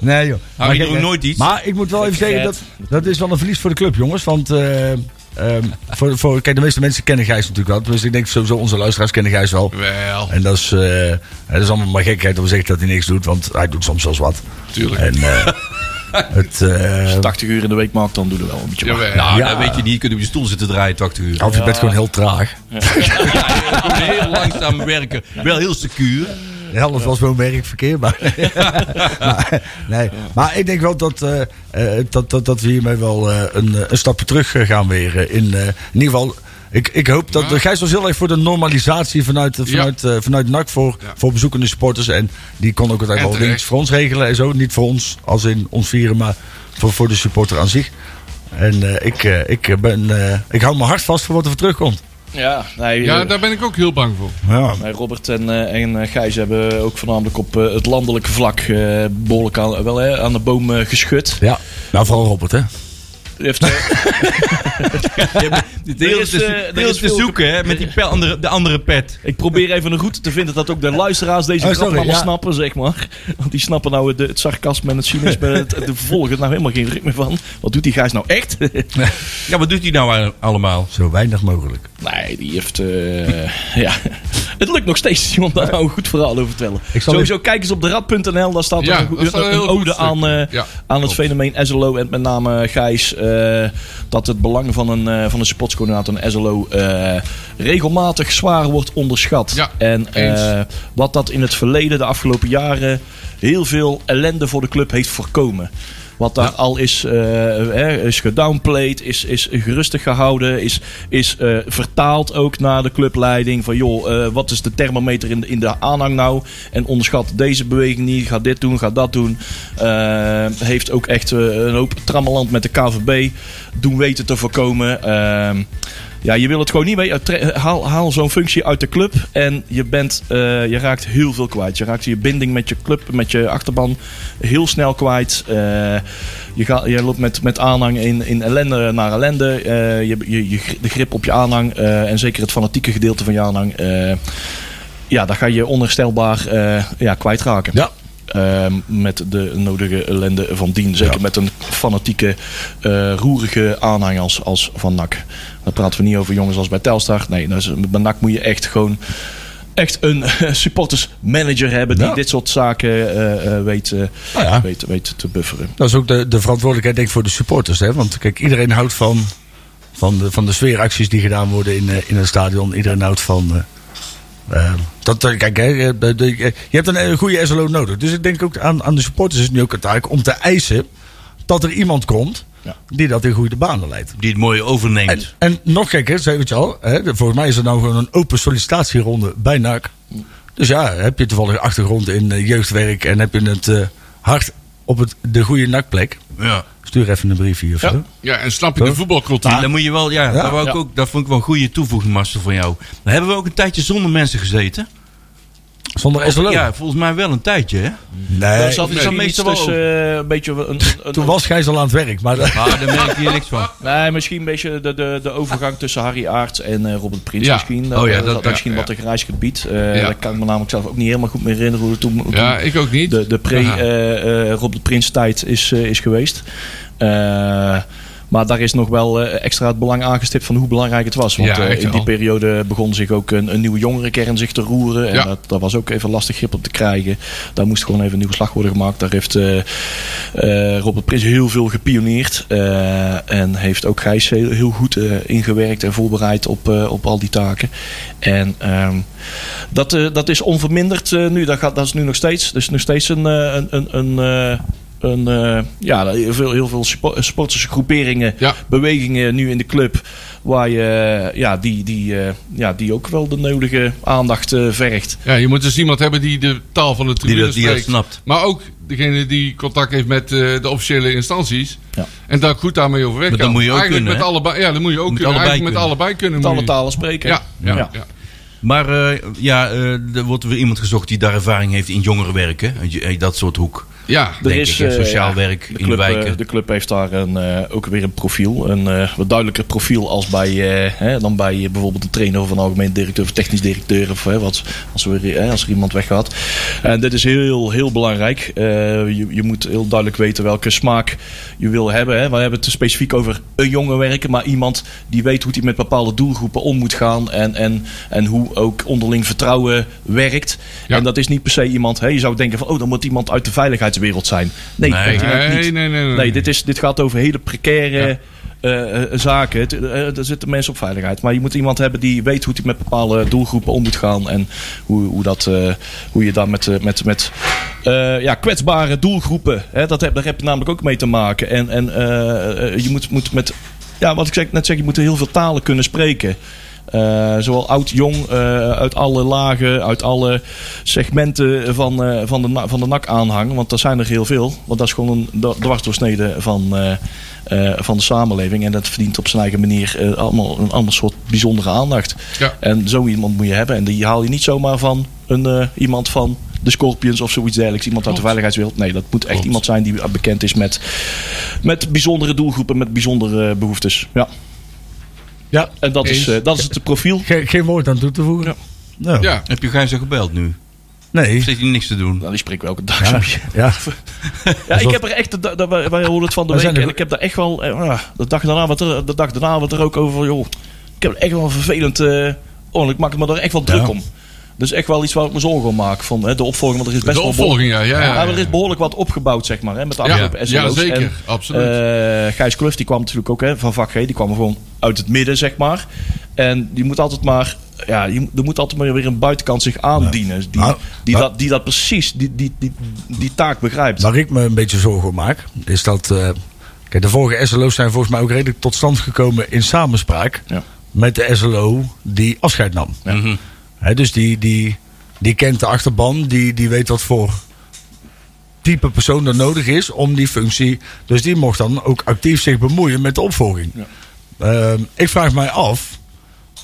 S3: nee, joh.
S2: Hou je
S3: kijk,
S2: ook
S3: eh,
S2: nooit iets?
S3: Maar ik moet wel even zeggen, dat, dat is wel een verlies voor de club, jongens. Want eh, ehm, voor, voor, kijk, de meeste mensen kennen Gijs natuurlijk wel. Dus ik denk sowieso onze luisteraars kennen Gijs wel.
S4: Wel,
S3: En dat is, eh, dat is allemaal maar gekheid om te zeggen dat hij niks doet. Want hij doet soms zelfs wat.
S4: tuurlijk.
S3: En eh, het... eh,
S5: 80 uur in de week maakt, dan doen we wel een beetje.
S4: Jawel.
S2: Nou,
S3: Ja.
S2: dat weet je niet. Je kunt op je stoel zitten draaien, 80 uur.
S3: of je bent gewoon heel traag.
S2: Heel langzaam werken. Wel heel secuur.
S3: De helft was gewoon
S4: [laughs]
S3: werkverkeer, maar, maar, nee. maar ik denk wel dat, eh, eh, dat, dat, dat we hiermee wel eh, een, eh, een stapje terug eh, gaan weer. eh, in, eh, in ieder geval Ik, ik hoop dat
S4: Ja.
S3: Gijs was heel erg voor de normalisatie vanuit, vanuit, eh, vanuit NAC voor,
S4: Ja.
S3: voor bezoekende sporters. En die kon ook
S4: En
S3: uiteindelijk wel
S4: terecht.
S3: links voor ons regelen en zo. Niet voor ons als in ons vieren, maar voor, voor de supporter aan zich. En eh, ik, eh, ik, ben, eh, ik hou mijn hart vast voor wat er voor terugkomt.
S5: Ja, nee,
S4: Ja,
S5: eh,
S4: daar ben ik ook heel bang voor.
S3: Ja.
S5: nee, Robert en, eh, en eh, Gijs hebben ook voornamelijk op eh, het landelijke vlak eh, behoorlijk aan, wel, hè, aan de boom eh, geschud.
S3: ja, nou vooral Robert hè.
S5: U Heeft, eh,
S2: De
S5: Er
S2: hele
S5: is,
S2: te,
S5: eh,
S2: de
S5: er
S2: hele
S5: is
S2: te
S5: veel-
S2: zoeken hè, met die pel, andere, de andere pet.
S5: ik probeer even een route te vinden dat ook de luisteraars deze
S3: Oh,
S5: grap
S3: sorry,
S5: allemaal
S3: ja.
S5: snappen, zeg maar. Want die snappen nou de, het sarcasme en het
S3: [laughs]
S5: cynisme, het, het vervolgen nou helemaal geen ritme van. Wat doet die Gijs nou echt?
S2: Ja, wat doet hij nou a- allemaal?
S3: Zo weinig mogelijk.
S5: Nee, die heeft. eh, ja. Het lukt nog steeds om daar nou een goed verhaal over te vertellen.
S3: Ik zal
S5: Sowieso, kijk eens op de rad.nl. Daar staat
S4: Ja,
S5: een,
S4: daar
S5: goe-
S4: staat een
S5: een,
S4: heel goed
S5: ode
S4: stuk.
S5: aan, eh,
S4: Ja,
S5: aan het
S4: klopt.
S5: fenomeen SLO. En met name eh, Gijs. eh, dat het belang van een, eh, van een sportscoördinator, een SLO. eh, regelmatig zwaar wordt onderschat.
S4: Ja,
S5: en
S4: eens.
S5: eh, wat dat in het verleden, de afgelopen jaren. heel veel ellende voor de club heeft voorkomen. Wat daar al is, eh, hè, is gedownplayed, is, is gerustig gehouden, is, is eh, vertaald ook naar de clubleiding. Van joh, eh, wat is de thermometer in de, in de aanhang nou? En onderschat deze beweging niet, ga dit doen, ga dat doen. Eh, heeft ook echt eh, een hoop trammeland met de KVB doen weten te voorkomen. Ehm, ja, je wil het gewoon niet mee. Tre- eh, Haal, haal zo'n functie uit de club en je, bent, eh, je raakt heel veel kwijt. Je raakt je binding met je club, met je achterban heel snel kwijt. Eh, je, ga, je loopt met, met aanhang in, in ellende naar ellende. Eh, je, je, je, gri- de grip op je aanhang eh, en zeker het fanatieke gedeelte van je aanhang. eh, ja, daar ga je onherstelbaar eh ja, kwijtraken.
S3: Ja.
S5: Ehm, met de nodige ellende van dien. Zeker met een fanatieke, eh, roerige aanhang als, als van NAC. Daar praten we niet over jongens als bij Telstar. Nee, dat is, bij NAC moet je echt gewoon echt een [laughs] supportersmanager hebben... die
S3: Ja.
S5: dit soort zaken eh, eh, weet, eh,
S3: Nou ja.
S5: weet, weet te bufferen.
S3: Dat is ook de, de verantwoordelijkheid denk ik voor de supporters. Hè? Want kijk, iedereen houdt van, van, de, van de sfeeracties die gedaan worden in, eh, in het stadion. Iedereen houdt van... eh, eh, dat, eh, kijk, hè, je hebt, eh, de- je hebt een eh, goede SLO nodig. Dus ik denk ook aan, aan de supporters is het nu ook een taak om te eisen dat er iemand komt
S5: Ja.
S3: die dat in goede banen leidt.
S2: Die het mooi
S3: En,
S2: overneemt.
S3: en nog gekker, zei het je al, hè, de- volgens mij is er nou gewoon een open sollicitatieronde bij NAC. Dus ja, heb je toevallig achtergrond in eh, jeugdwerk en heb je het eh, hart op het, de goede NAC-plek...
S2: ja.
S3: Stuur even een briefje of zo.
S4: Ja, en snap je de voetbalcultuur?
S2: Dan moet je wel, ja,
S3: Ja.
S2: Dat, wou ik
S5: Ja.
S2: ook, dat vond ik wel een goede toevoeging, Marcel, van jou. Dan hebben we ook een tijdje zonder mensen gezeten.
S3: Zonder SLO.
S2: Ja, volgens mij wel een tijdje, hè?
S5: Er
S3: Nee,
S5: zat
S2: nee.
S5: misschien
S2: Dat
S5: iets
S2: meestal wel
S5: tussen, eh, een beetje een, een, een-
S3: toen was Gijs al aan het werk. Maar dat-
S2: Maar daar merk je hier niks van.
S5: Nee, misschien een beetje de, de, de overgang tussen Harry Aarts en eh, Robert Prins
S4: Ja.
S5: misschien.
S2: Oh ja,
S5: Eh,
S2: dat- ja,
S5: misschien
S4: ja.
S5: wat een grijs gebied. Eh,
S4: Ja.
S5: Dat kan ik me namelijk zelf ook niet helemaal goed meer herinneren hoe het toen, toen
S4: Ja, ik ook niet.
S5: de, de
S4: Ja.
S5: pre-Robert Prins tijd is, eh, is geweest. Eh, maar daar is nog wel eh, extra het belang aangestipt van hoe belangrijk het was. Want
S4: Ja,
S5: eh,
S4: echt
S5: in die
S4: wel.
S5: periode begon zich ook een, een nieuwe jongerenkern zich te roeren. En
S4: Ja.
S5: dat, daar was ook even lastig grip op te krijgen. Daar moest gewoon even een nieuwe slag worden gemaakt. Daar heeft eh, eh, Robert Prins heel veel gepioneerd. eh, en heeft ook Gijs heel, heel goed eh, ingewerkt en voorbereid op, eh, op al die taken. En ehm, dat, eh, dat is onverminderd eh, nu. Dat, gaat, dat is nu nog steeds. Dus nog steeds een. eh, een, een, een eh, een, eh, ja, heel veel, heel veel spo- eh, sportse groeperingen,
S4: Ja.
S5: bewegingen nu in de club. Waar je, eh, ja, die, die, eh, ja, die ook wel de nodige aandacht eh, vergt.
S4: Ja, je moet dus iemand hebben die de taal van de tribune
S2: Die dat- die dat
S4: spreekt.
S2: snapt.
S4: Maar ook degene die contact heeft met eh, de officiële instanties.
S5: Ja.
S4: En daar goed daarmee overweg
S2: Maar dat
S4: kan.
S2: moet je ook
S4: Eigenlijk
S2: kunnen,
S4: met
S2: hè?
S4: allebei, Ja, dat moet je ook
S2: Met
S4: kunnen.
S2: allebei
S4: Eigenlijk met
S2: kunnen.
S4: allebei kunnen.
S5: Met alle
S4: moet je-
S5: talen spreken.
S4: Ja, ja,
S5: Ja.
S4: ja.
S2: Maar eh, ja, eh, er wordt weer iemand gezocht die daar ervaring heeft in jongerenwerken. Eh, Dat soort hoek.
S4: Ja.
S5: Er
S2: denk
S5: is,
S2: ik, hè,
S5: eh,
S2: sociaal
S5: ja,
S2: werk
S5: de
S2: in
S5: club,
S2: de wijken.
S5: eh, de club heeft daar een, eh, ook weer een profiel. Een eh, wat duidelijker profiel als bij, eh, hè, dan bij eh, bijvoorbeeld een trainer of een algemeen directeur of technisch directeur. Of, hè, wat, als, er weer, hè, als er iemand weggaat. En dit is heel, heel belangrijk. Eh, je, je moet heel duidelijk weten welke smaak je wil hebben. Hè. We hebben het specifiek over een jonge werken. Maar iemand die weet hoe hij met bepaalde doelgroepen om moet gaan. En, en, en hoe ook onderling vertrouwen werkt.
S4: Ja.
S5: En dat is niet per se iemand. Hè, je zou denken van oh, dan moet iemand uit de veiligheidswereld zijn. Nee,
S2: Nee.
S5: dat werkt
S4: Nee,
S5: niet.
S4: nee, nee, nee.
S5: Nee, dit, is, dit gaat over hele precaire eh, eh, zaken. Het, eh, er zitten mensen op veiligheid. Maar je moet iemand hebben die weet hoe hij met bepaalde doelgroepen om moet gaan. En hoe, hoe, dat, eh, hoe je daar met, eh, met, met eh, ja, kwetsbare doelgroepen. Hè, dat heb, daar heb je namelijk ook mee te maken. En, en eh, eh, je moet, moet met ja, wat ik zeg, net zeg, je moet heel veel talen kunnen spreken. Eh, zowel oud, jong, eh, uit alle lagen, uit alle segmenten van, eh, van de, na- van de NAC-aanhang. Want dat zijn er heel veel. Want dat is gewoon een da- dwarsdoorsnede van, eh, eh, van de samenleving. En dat verdient op zijn eigen manier eh, allemaal een ander soort bijzondere aandacht.
S4: Ja.
S5: En zo iemand moet je hebben. En die haal je niet zomaar van een, eh, iemand van de Scorpions of zoiets dergelijks. Iemand uit de veiligheidswereld. Nee, dat moet echt
S4: Klopt.
S5: iemand zijn die bekend is met, met bijzondere doelgroepen, met bijzondere behoeftes. Ja.
S3: [laughs] Ja.
S5: En dat is,
S4: Eens.
S5: eh, dat is het profiel.
S3: Ge- geen woord aan toe te voegen.
S5: Ja.
S3: Nou,
S4: Ja,
S2: Heb je Gijs al gebeld nu?
S3: Nee.
S2: Of zit hij niks te doen?
S5: Nou, die spreekt wel elke dag
S3: Ja,
S5: zo'n
S3: ja.
S5: Ja, ik heb er echt, da- da- wij wij hoorden het van de
S3: We
S5: week
S3: zijn er-
S5: en ik heb daar echt wel, eh, ah, de dag daarna, wat er, de dag daarna wat er ook over, joh, ik heb er echt wel een vervelend, eh oh, ik maak me er echt wel druk om. Dus echt wel iets waar ik me zorgen om maak, van hè, de opvolging, want er is best
S4: de
S5: wel behoorlijk,
S4: opvolging, ja. ja, ja,
S5: ja, maar
S4: ja.
S5: er is behoorlijk wat opgebouwd, zeg maar, hè, met de
S4: Ja,
S5: afgelopen SLO's.
S4: ja, zeker,
S5: En,
S4: absoluut.
S5: eh, Gijs Kluf, die kwam natuurlijk ook hè, van vak G, die kwam gewoon uit het midden, zeg maar. En die moet altijd maar, ja, je moet- er moet altijd maar weer een buitenkant zich aandienen, die,
S3: Nou,
S5: die,
S3: nou-
S5: dat, die dat precies, die, die, die, die taak begrijpt.
S3: Waar ik me een beetje zorgen om maak, is dat. eh, kijk, de vorige SLO's zijn volgens mij ook redelijk tot stand gekomen in samenspraak
S5: Ja.
S3: met de SLO die afscheid nam.
S2: Mhm.
S3: Hè, dus die, die, die kent de achterban, die, die weet wat voor type persoon er nodig is om die functie. Dus die mocht dan ook actief zich bemoeien met de opvolging.
S5: Ja.
S3: Ehm, ik vraag mij af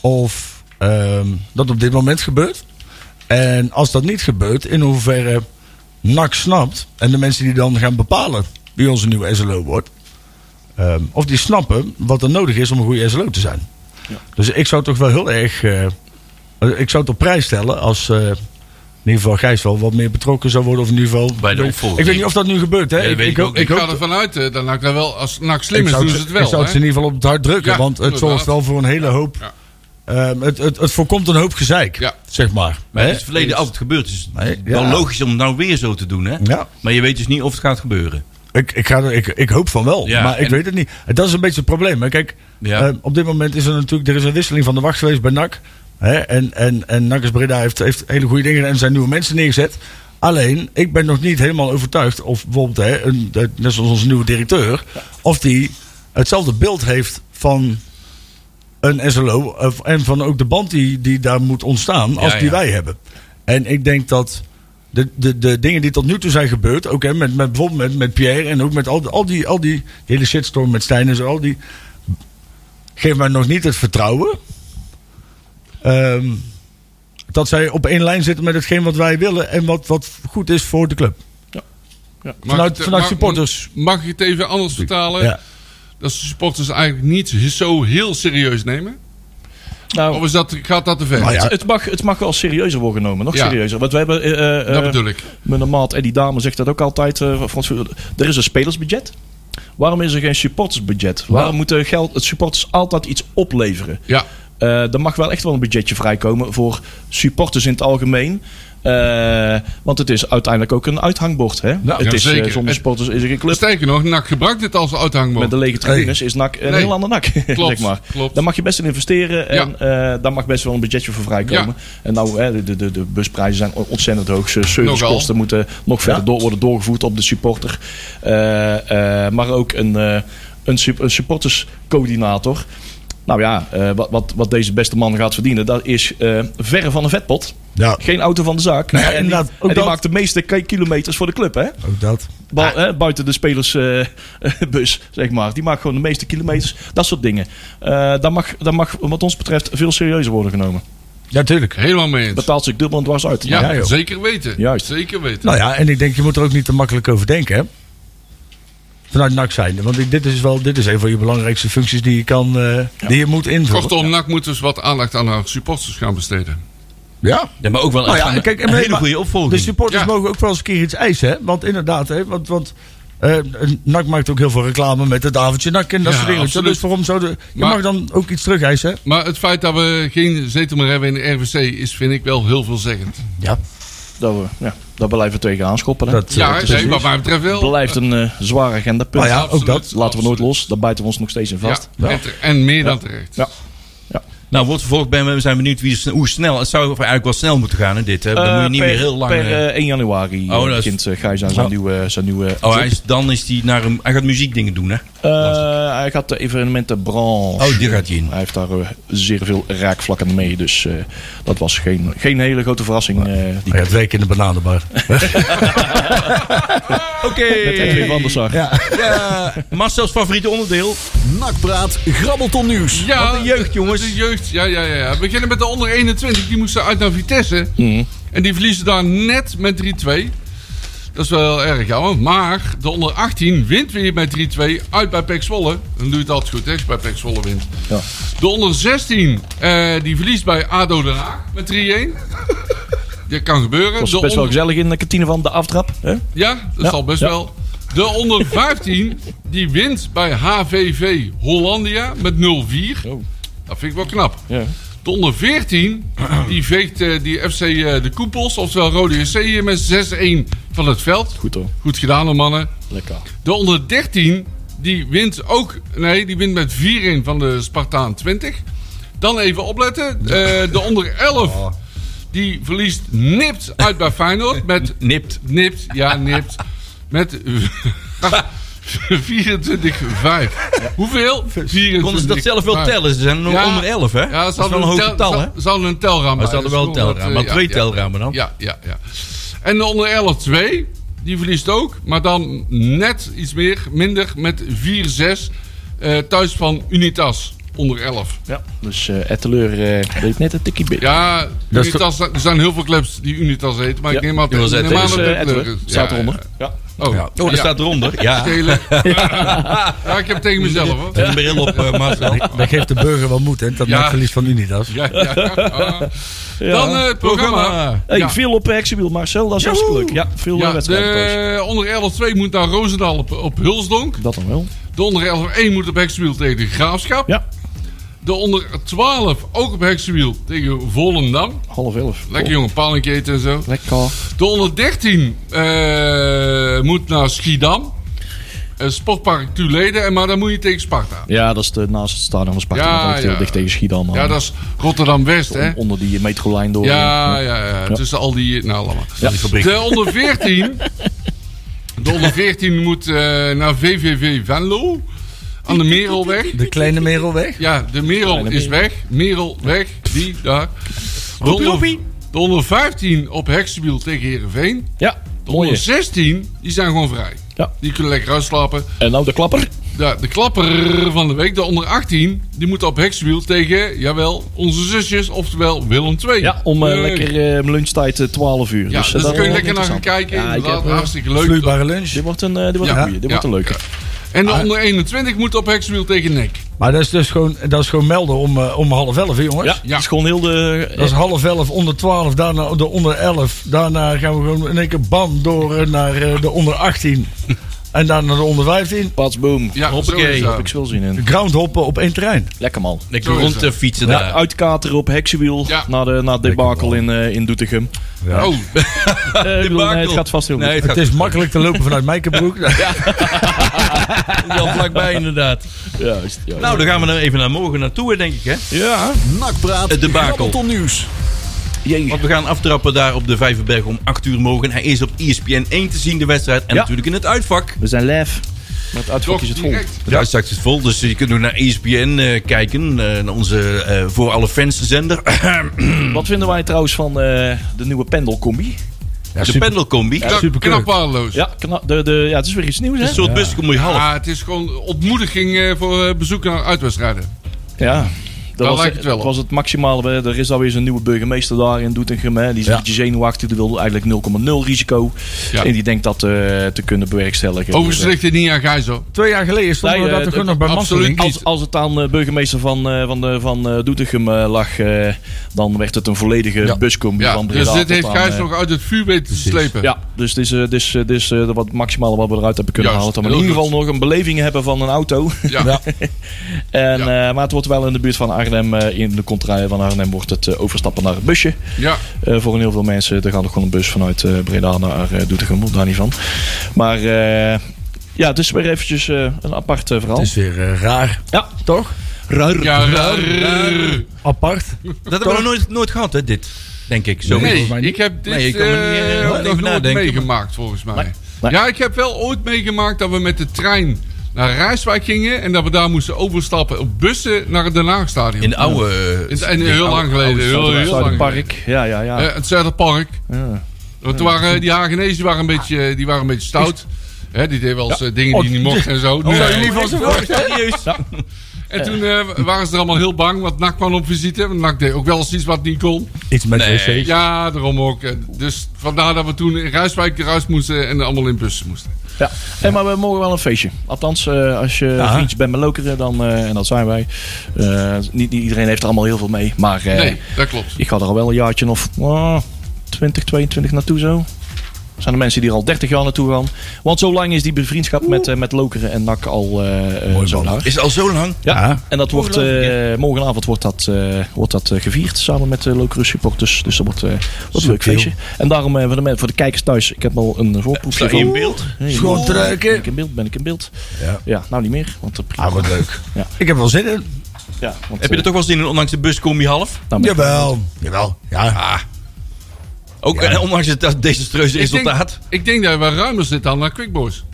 S3: of ehm, dat op dit moment gebeurt. En als dat niet gebeurt, in hoeverre NAC snapt en de mensen die dan gaan bepalen wie onze nieuwe SLO wordt. ehm, of die snappen wat er nodig is om een goede SLO te zijn. Dus ik zou toch wel heel erg. eh, ik zou het op prijs stellen als. eh, in ieder geval Gijs wel wat meer betrokken zou worden. Of in ieder geval.
S2: Bij de opvolging.
S3: Ik weet niet of dat nu gebeurt. Hè?
S2: dat weet ik
S3: hoop-
S2: ook
S4: Ik
S3: hoop-
S4: ga ervan uit, eh, dan laat ik daar wel, als NAC slim
S3: ik
S4: is,
S3: zou
S4: doen ze
S3: het-
S4: het
S3: Ik zou
S4: wel.
S3: het ze in
S4: hè?
S3: ieder geval op het hart drukken.
S4: Ja,
S3: want het
S4: inderdaad.
S3: zorgt wel voor een hele hoop.
S4: Ja.
S3: ehm, het, het, het voorkomt een hoop gezeik.
S4: Ja.
S3: Zeg maar.
S2: Maar het
S3: Hè?
S2: is het verleden altijd gebeurd. Dus het is
S3: Nee,
S2: wel
S3: ja.
S2: logisch om het nou weer zo te doen, hè?
S3: Ja.
S2: Maar je weet dus niet of het gaat gebeuren.
S3: Ik, ik, ga er, ik, ik hoop van wel,
S2: Ja,
S3: maar ik
S2: en-
S3: weet het niet. Dat is een beetje het probleem. Hè. Kijk,
S2: Ja.
S3: eh, op dit moment is er natuurlijk er is een wisseling van de wacht geweest bij NAC. Hè? En, en, en NAC is Breda heeft, heeft hele goede dingen gedaan en zijn nieuwe mensen neergezet. Alleen, ik ben nog niet helemaal overtuigd of bijvoorbeeld, hè, een, de- net zoals onze nieuwe directeur, of die hetzelfde beeld heeft van een SLO of- en van ook de band die, die daar moet ontstaan als
S2: Ja,
S3: die
S2: ja.
S3: wij hebben. En ik denk dat de, de, de dingen die tot nu toe zijn gebeurd, ook hè, met, met, bijvoorbeeld met, met Pierre en ook met al, al, die, al die, die hele shitstorm met Stijn en zo, al die, geeft mij nog niet het vertrouwen ehm, dat zij op één lijn zitten met hetgeen wat wij willen en wat, wat goed is voor de club.
S4: Mag
S3: vanuit-
S4: ik het-
S3: vanuit
S4: mag-
S3: supporters.
S4: Mag ik het even anders vertalen?
S3: Ja.
S4: Dat ze supporters eigenlijk niet zo heel serieus nemen?
S5: Nou,
S4: Of is dat, gaat dat te ver?
S3: Oh. Nou ja.
S5: het, het mag, het mag wel serieuzer worden genomen. Nog
S4: Ja.
S5: serieuzer. Want we hebben. eh, eh,
S4: Dat
S5: eh,
S4: bedoel ik.
S5: Mijn maat Eddie Dame zegt dat ook altijd. eh, Frans Vuur. er is een spelersbudget. Waarom is er geen supportersbudget? Waarom moeten geld, het supporters altijd iets opleveren?
S4: Ja,
S5: Eh, er mag wel echt wel een budgetje vrijkomen voor supporters in het algemeen. Eh, want het is uiteindelijk ook een uithangbord. Hè? het is, eh,
S4: zeker.
S5: zonder
S4: En-
S5: supporters is er geen club.
S4: sterker nog, NAC gebruikt dit als
S5: Met
S4: uithangbord.
S5: de lege tribunes is NAC een
S4: Nee.
S5: heel ander NAC. [laughs]
S4: Klopt,
S5: zeg maar.
S4: klopt.
S5: Daar mag je best in investeren. En eh, daar mag best wel een budgetje voor vrijkomen.
S4: Ja.
S5: En nou, hè, de, de, de busprijzen zijn ontzettend hoog. Ze- Servicekosten moeten nog verder door, worden doorgevoerd op de supporter. Eh, eh, maar ook een, eh, een, sup- een supporterscoördinator. Nou ja, eh, wat, wat, wat deze beste man gaat verdienen, dat is eh, verre van een vetpot.
S3: Ja,
S5: Geen auto van de zaak.
S3: Nee,
S5: en die,
S3: inderdaad, ook
S5: en die
S3: dat.
S5: maakt de meeste ki- kilometers voor de club, hè?
S3: ook dat.
S5: Bu-
S2: Ah.
S5: hè, buiten de spelersbus, zeg maar. Die maakt gewoon de meeste kilometers. Dat soort dingen. Eh daar, mag, daar mag, wat ons betreft, veel serieuzer worden genomen.
S2: Dus-
S3: Ja, tuurlijk.
S4: Helemaal mee eens.
S5: Betaalt zich dubbel en dwars uit.
S4: Ja,
S3: Ja, joh.
S4: zeker weten.
S5: Juist.
S4: Zeker weten.
S3: Nou ja, en ik denk, je moet er ook niet te makkelijk over denken, hè? Vanuit NAC zijn. Want ik- dit is wel, dit is een van je belangrijkste functies die je kan, eh, die je moet invullen.
S4: Kortom, NAC moet dus wat aandacht aan haar supporters gaan besteden.
S3: Ja.
S2: Ja, maar ook wel
S3: Nou
S2: echt
S3: ja,
S2: een-
S3: kijk, en
S2: een
S3: maar-
S2: hele goede opvolging.
S3: De supporters
S4: Ja.
S3: mogen ook wel eens een keer iets eisen, hè? Want inderdaad, hè? Want, want eh, NAC maakt ook heel veel reclame met het avondje NAC en dat
S4: Ja,
S3: soort dingen.
S4: absoluut.
S3: Dus waarom zouden... Je
S4: Maar-
S3: mag dan ook iets terug eisen, hè?
S4: Maar het feit dat we geen zetel meer hebben in de RVC is, vind ik, wel heel veelzeggend.
S3: Ja.
S5: Dat, we, ja, dat blijven we tegenaan schoppen. Hè?
S3: Dat, eh,
S4: Ja,
S3: dat is
S4: nee,
S3: precies.
S4: wat mij betreft wel.
S5: blijft een eh zwaar agendapunt.
S3: Nou ja, ook
S4: Absoluut,
S3: dat.
S5: Laten we
S4: absoluut.
S5: nooit los. Daar bijten we ons nog steeds in vast.
S4: Ja, en, ter- en meer dan terecht.
S5: Ja. Ja.
S2: Nou, wordt vervolgd. Ben, we zijn benieuwd wie, hoe snel. Het zou eigenlijk wel snel moeten gaan in dit. Hè? Dan
S5: Eh,
S2: moet je niet
S5: per,
S2: meer heel lang.
S5: Per
S2: eh,
S5: eh, 1 januari
S2: Oh,
S5: oh,
S2: dat is-
S5: begint eh, Gijs aan zijn
S2: Oh.
S5: nieuwe... Zijn nieuwe
S2: oh,
S5: trip.
S2: hij is, dan is hij naar een. Hij gaat muziekdingen doen, hè?
S5: Eh, hij gaat de evenementenbranche.
S2: Oh, die gaat hij in.
S5: Hij heeft daar eh, zeer veel raakvlakken mee. Dus eh, dat was geen, geen hele grote verrassing. eh, die
S3: Hij gaat werken in de bananenbar.
S2: Oké.
S5: met Edwin van der Sar.
S2: [laughs] Marcel's favoriete onderdeel.
S1: Nakpraat, grabbelton nieuws.
S4: Ja,
S2: Wat een jeugd, jongens.
S4: De jeugd, ja, ja, ja. ja. We beginnen met de onder 21. Die moesten uit naar Vitesse.
S5: Mhm.
S4: En die verliezen daar net met 3-2. Dat is wel erg jammer. Maar de onder 18 wint weer met 3-2 uit bij Pek Zwolle. Dan doe je het altijd goed, hè, als je bij Pek Zwolle wint.
S5: Ja.
S4: De onder 16, eh, die verliest bij ADO Den Haag met 3-1.
S5: [laughs]
S4: Dat kan gebeuren.
S5: was
S4: De
S5: best wel
S4: onder-
S5: gezellig in de kantine van de aftrap. Hè?
S4: ja, dat
S5: Ja,
S4: zal best
S5: ja.
S4: wel. De onder 15, die wint bij HVV Hollandia met 0-4.
S5: Oh.
S4: Dat vind ik wel knap.
S5: Ja.
S4: De onder 14, die veegt eh, die FC eh, de Koepels, oftewel Rode JC, hier met 6-1 van het veld.
S5: Goed hoor.
S4: Goed gedaan, hè, mannen.
S5: Lekker.
S4: De onder 13, die wint ook, nee, die wint met 4-1 van de Spartaan 20. Dan even opletten. Eh, de onder 11, die verliest nipt uit bij Feyenoord met
S2: Nipt.
S4: Nipt, ja, nipt. Met [laughs] 24, 5. Hoeveel? 24,
S2: Konden ze dat zelf wel
S4: vijf.
S2: tellen? Ze zijn nog
S4: Ja.
S2: onder 11, hè?
S4: Ja,
S2: dat
S4: ze
S2: is wel
S4: hadden
S2: een hoog
S4: tel-
S2: getal,
S4: ze-
S2: hè?
S4: Ze hadden een telraam.
S2: Maar ze
S4: bij,
S2: hadden
S4: dus
S2: wel een
S4: kon dat,
S2: telraam,
S4: eh,
S2: maar
S4: ja,
S2: twee
S4: ja.
S2: telramen dan.
S4: Ja, ja, ja. En de onder 11, 2. Die verliest ook, maar dan net iets meer, minder, met 4-6. eh, thuis van Unitas, onder 11.
S5: Ja. Dus eh Etteleur eh, deed net een tikkie bit.
S4: Ja,
S3: Dat is
S4: Unitas, er zijn heel veel clubs die Unitas heten, maar
S5: Ja.
S4: ik neem aan
S2: Ik wil
S4: ik
S2: zeggen,
S4: neem aan
S5: Dus,
S4: dat
S5: eh,
S4: dit
S5: Etteleur
S4: leuk is.
S5: staat
S4: Ja,
S5: eronder. Ja.
S4: ja. Oh,
S2: Oh, dat
S4: ja.
S2: staat eronder. Ja. [laughs]
S4: Schelen. Ja. ik heb het tegen mezelf hoor.
S2: Met een bril op, eh, Marcel.
S3: Dat geeft de burger wel moed, hè? Dat
S4: Ja.
S3: maakt verlies van Unidas.
S4: Ja, ja, ja. Dan eh, het programma.
S2: Programma.
S5: Hey,
S4: Ja.
S5: Veel op Hexenwiel, Marcel. Dat is
S2: Joehoe.
S5: hartstikke leuk. Ja, veel
S4: Ja,
S5: eh, wedstrijden thuis.
S4: de onder 11-2 moet naar Roosendaal op, op Hulsdonk.
S5: Dat dan wel.
S4: De onder 11-1 moet op Heksenwiel tegen de Graafschap.
S5: Ja,
S4: De onder 12 ook op Heksenwiel tegen Volendam.
S5: half elf.
S4: Lekker
S5: Oh,
S4: jongen, palinketen en zo.
S5: Lekker.
S4: De onder 13 eh, moet naar Schiedam. Eh, Sportpark Tuleden, en maar dan moet je tegen Sparta.
S5: Ja, dat is de, naast het stadion van Sparta.
S4: Ja,
S5: Ja, heel
S4: ja.
S5: dicht tegen Schiedam. eh,
S4: Ja, dat is Rotterdam-West, hè?
S5: On- Onder die metrolijn door.
S4: Ja, ja, ja. Tussen al die... Nou, allemaal.
S2: Ja. Die fabriek.
S4: De onder 14. De onder 14 moet eh, naar VVV Venlo. Aan de Merelweg.
S3: De kleine merel weg.
S4: Ja, de Merel is weg. Merel weg. Die daar. De onder, de onder 15 op Heksenwiel tegen Herenveen.
S5: ja
S4: De onder
S5: mooie.
S4: 16, die zijn gewoon vrij.
S5: Ja.
S4: Die kunnen lekker uitslapen.
S5: En nou de klapper.
S4: De, de klapper van de week, de onder 18, die moet op Heksenwiel tegen, jawel, onze zusjes, oftewel Willem II.
S5: Ja, om eh,
S4: Leuk.
S5: lekker eh, lunchtijd eh, 12 uur.
S4: Ja,
S5: eh,
S4: dus
S5: dat
S4: daar kun je
S5: wel
S4: lekker naar gaan
S5: interessant.
S4: kijken.
S5: Ja, ik
S4: Inderdaad,
S5: heb, eh,
S4: hartstikke leuk.
S3: Vloeibare lunch.
S5: Dit wordt een, eh, dit wordt
S4: Ja.
S5: een goeie. Dit
S4: Ja.
S5: wordt een leuke.
S4: En de onder 21 moet op Hexwiel tegen Nek.
S3: Maar dat is dus gewoon, dat is gewoon melden om, eh, om half elf, hè, jongens.
S5: Ja, dat is gewoon heel de...
S3: Dat is half elf, onder twaalf, daarna de onder elf. Daarna gaan we gewoon in één keer bam door eh, naar eh, de onder 18. En dan naar de onder 15.
S5: Pats, boom.
S4: Ja,
S2: Hoppakee.
S4: zo is
S5: Heb ik
S4: dat.
S5: veel zin in.
S3: Groundhoppen op één trein.
S5: Lekker man.
S2: Lekker
S4: Zo is
S2: rond te
S4: het.
S2: fietsen
S5: Ja. oh,
S2: daar.
S5: Uitkateren op Eh, heksenwiel
S4: Ja.
S5: na, de, na het debacle in, eh, in
S4: [laughs]
S5: Doetinchem.
S4: Oh,
S5: Eh, ik bedoel, nee, het
S2: Debacle.
S5: gaat vast heel goed.
S2: Nee, het
S3: Het
S2: gaat
S3: is makkelijk te lopen vanuit Mijkenbroek.
S2: [laughs] wel vlakbij inderdaad.
S5: Juist, juist.
S2: Nou, dan gaan we dan even naar morgen naartoe, denk ik, hè?
S5: ja.
S1: Nakpraat,
S2: Het debakel.
S1: grabbelton nieuws.
S5: Jee.
S2: Want we gaan aftrappen daar op de Vijverberg om 8 uur morgen. Hij is op E ESPN 1 te zien, de wedstrijd. En
S5: Ja.
S2: natuurlijk in het uitvak.
S5: We zijn live. Maar het uitvak
S4: toch
S5: is het vol.
S4: direct.
S2: Het uitvak is vol, dus je kunt ook naar ESPN eh, kijken. eh, naar onze eh, voor alle fans zender.
S5: Wat vinden wij trouwens van eh, de nieuwe pendelcombi?
S2: de pendelcombi.
S4: Ja,
S3: superkeur.
S4: knap waardeloos. Ja.
S5: Ja, kna- de, de, ja, het is weer iets nieuws,
S2: Een
S5: hè?
S2: soort busje om je half.
S4: het is gewoon ontmoediging eh, voor eh, bezoeken naar uitwedstrijden.
S5: Ja. Dat was,
S4: lijkt het wel op.
S5: was het maximale. hè. Er is alweer zo'n nieuwe burgemeester daar in Doetinchem. Hè. Die is
S3: Ja.
S5: een beetje zenuwachtig. Die wil eigenlijk 0,0 risico.
S4: Ja.
S5: En die denkt dat eh, te kunnen bewerkstelligen. Dus, eh,
S4: Overigens ligt het niet aan Gijs hoor.
S3: [laughs] Twee jaar geleden stonden
S5: Nee,
S3: we dat
S5: eh,
S3: toch gewoon
S5: eh,
S3: nog bij
S4: absoluut
S3: Masseling.
S4: niet.
S5: Als, als het aan de burgemeester van, eh, van, de, van eh, Doetinchem eh, lag, eh, dan werd het een volledige buscombi
S4: Ja,
S5: van
S4: dus
S5: Breda
S4: dit
S5: tot
S4: heeft
S5: aan,
S4: Gijs
S5: eh,
S4: nog uit het vuur weten te slepen.
S5: Ja, dus dit is, eh, dit is, eh, dit is eh, wat het maximale wat we eruit hebben kunnen
S4: Juist,
S5: halen. Dat we in
S4: heel
S5: ieder geval nog een beleving hebben van een auto. [laughs]
S4: Ja.
S5: En,
S4: Ja.
S5: eh, maar het wordt wel in de buurt van Arnhem, eh, in de contraille van Arnhem, wordt het eh, overstappen naar het busje.
S4: Ja.
S5: Eh, voor een heel veel mensen, er gaat nog gewoon een bus vanuit eh, Breda naar eh Doetinchem, moet daar niet van. Maar eh, ja, het is weer eventjes eh, een apart eh, verhaal.
S3: Het is weer eh, raar,
S5: Ja,
S3: toch? Ruir.
S4: Ja,
S3: ruir,
S4: ruir.
S3: ruir. Apart.
S2: Dat hebben we nog nooit, nooit gehad, hè, dit. Denk ik. Zo
S4: Nee,
S3: volgens mij niet.
S4: ik heb dit
S2: Nee, ik kan me niet,
S4: eh,
S2: eh,
S4: ook
S2: even
S4: nog nooit
S2: nadenken,
S4: meegemaakt, volgens mij.
S5: Nee, nee.
S4: Ja, ik heb wel ooit meegemaakt dat we met de trein naar Rijswijk gingen... en dat we daar moesten overstappen op bussen naar het Den Haagstadion.
S2: In de oude... eh,
S4: In- en
S2: in
S4: heel
S2: oude-
S4: lang geleden.
S2: oude-
S4: Heel, heel lang geleden.
S5: Zuiderpark. Ja, ja, ja.
S4: Eh, het Zuiderpark.
S5: ja.
S4: Want toen waren, die Hagenezen waren een beetje, eh, die waren een beetje stout. Hè, die deden wel eens eh, dingen die niet mochten en zo. Nee.
S2: Serieus?
S4: En toen eh, waren ze er allemaal heel bang, want NAC kwam op visite. Want NAC deed ook wel eens iets wat niet kon.
S3: Iets met
S2: Nee.
S3: wc's.
S4: Ja, daarom ook. Eh, Dus vandaar dat we toen in Rijswijk eruit moesten en allemaal in bussen moesten.
S5: Ja. Hey, maar we mogen wel een feestje. Althans, eh, als je vriendjes bent met Lokeren, dan, eh, en dat zijn wij. eh, niet, niet iedereen heeft er allemaal heel veel mee. Maar eh,
S4: Nee, dat klopt.
S5: ik ga er al wel een jaartje of ah, 20, 22 naartoe zo. Er zijn er mensen die er al 30 jaar naartoe gaan. Want zo lang is die bevriendschap met, eh, met Lokeren en NAC al eh, eh, zo lang.
S2: Is het al zo lang?
S5: Ja, en dat wordt,
S2: Ongelooflijk,
S5: eh, morgenavond wordt dat, eh, wordt dat eh, gevierd samen met de Lokeren supporters. Dus dat wordt, eh, wordt een leuk
S3: Subtiel.
S5: feestje. En daarom eh, voor, de, men- voor de kijkers thuis, ik heb al een voorproefje
S2: Sta je in beeld?
S5: Hey,
S3: Schoon
S5: man.
S3: trekken.
S5: Ben ik in beeld? Ben ik in beeld?
S3: Ja.
S5: nou niet meer. Want, eh,
S3: Ah, wat leuk.
S5: Ja.
S3: Ik heb wel zin in.
S5: ja,
S2: Heb
S5: want,
S2: je dat
S5: eh,
S2: toch wel eens in, ondanks de bus kom je half? Ah.
S5: nou, ben ik-
S3: Jawel. Jawel. Ja.
S2: Ook
S3: Ja.
S2: en ondanks het dat desastreuze
S4: Ik denk-
S2: resultaat.
S4: Ik denk dat we ruimer zitten dan naar Quickboys.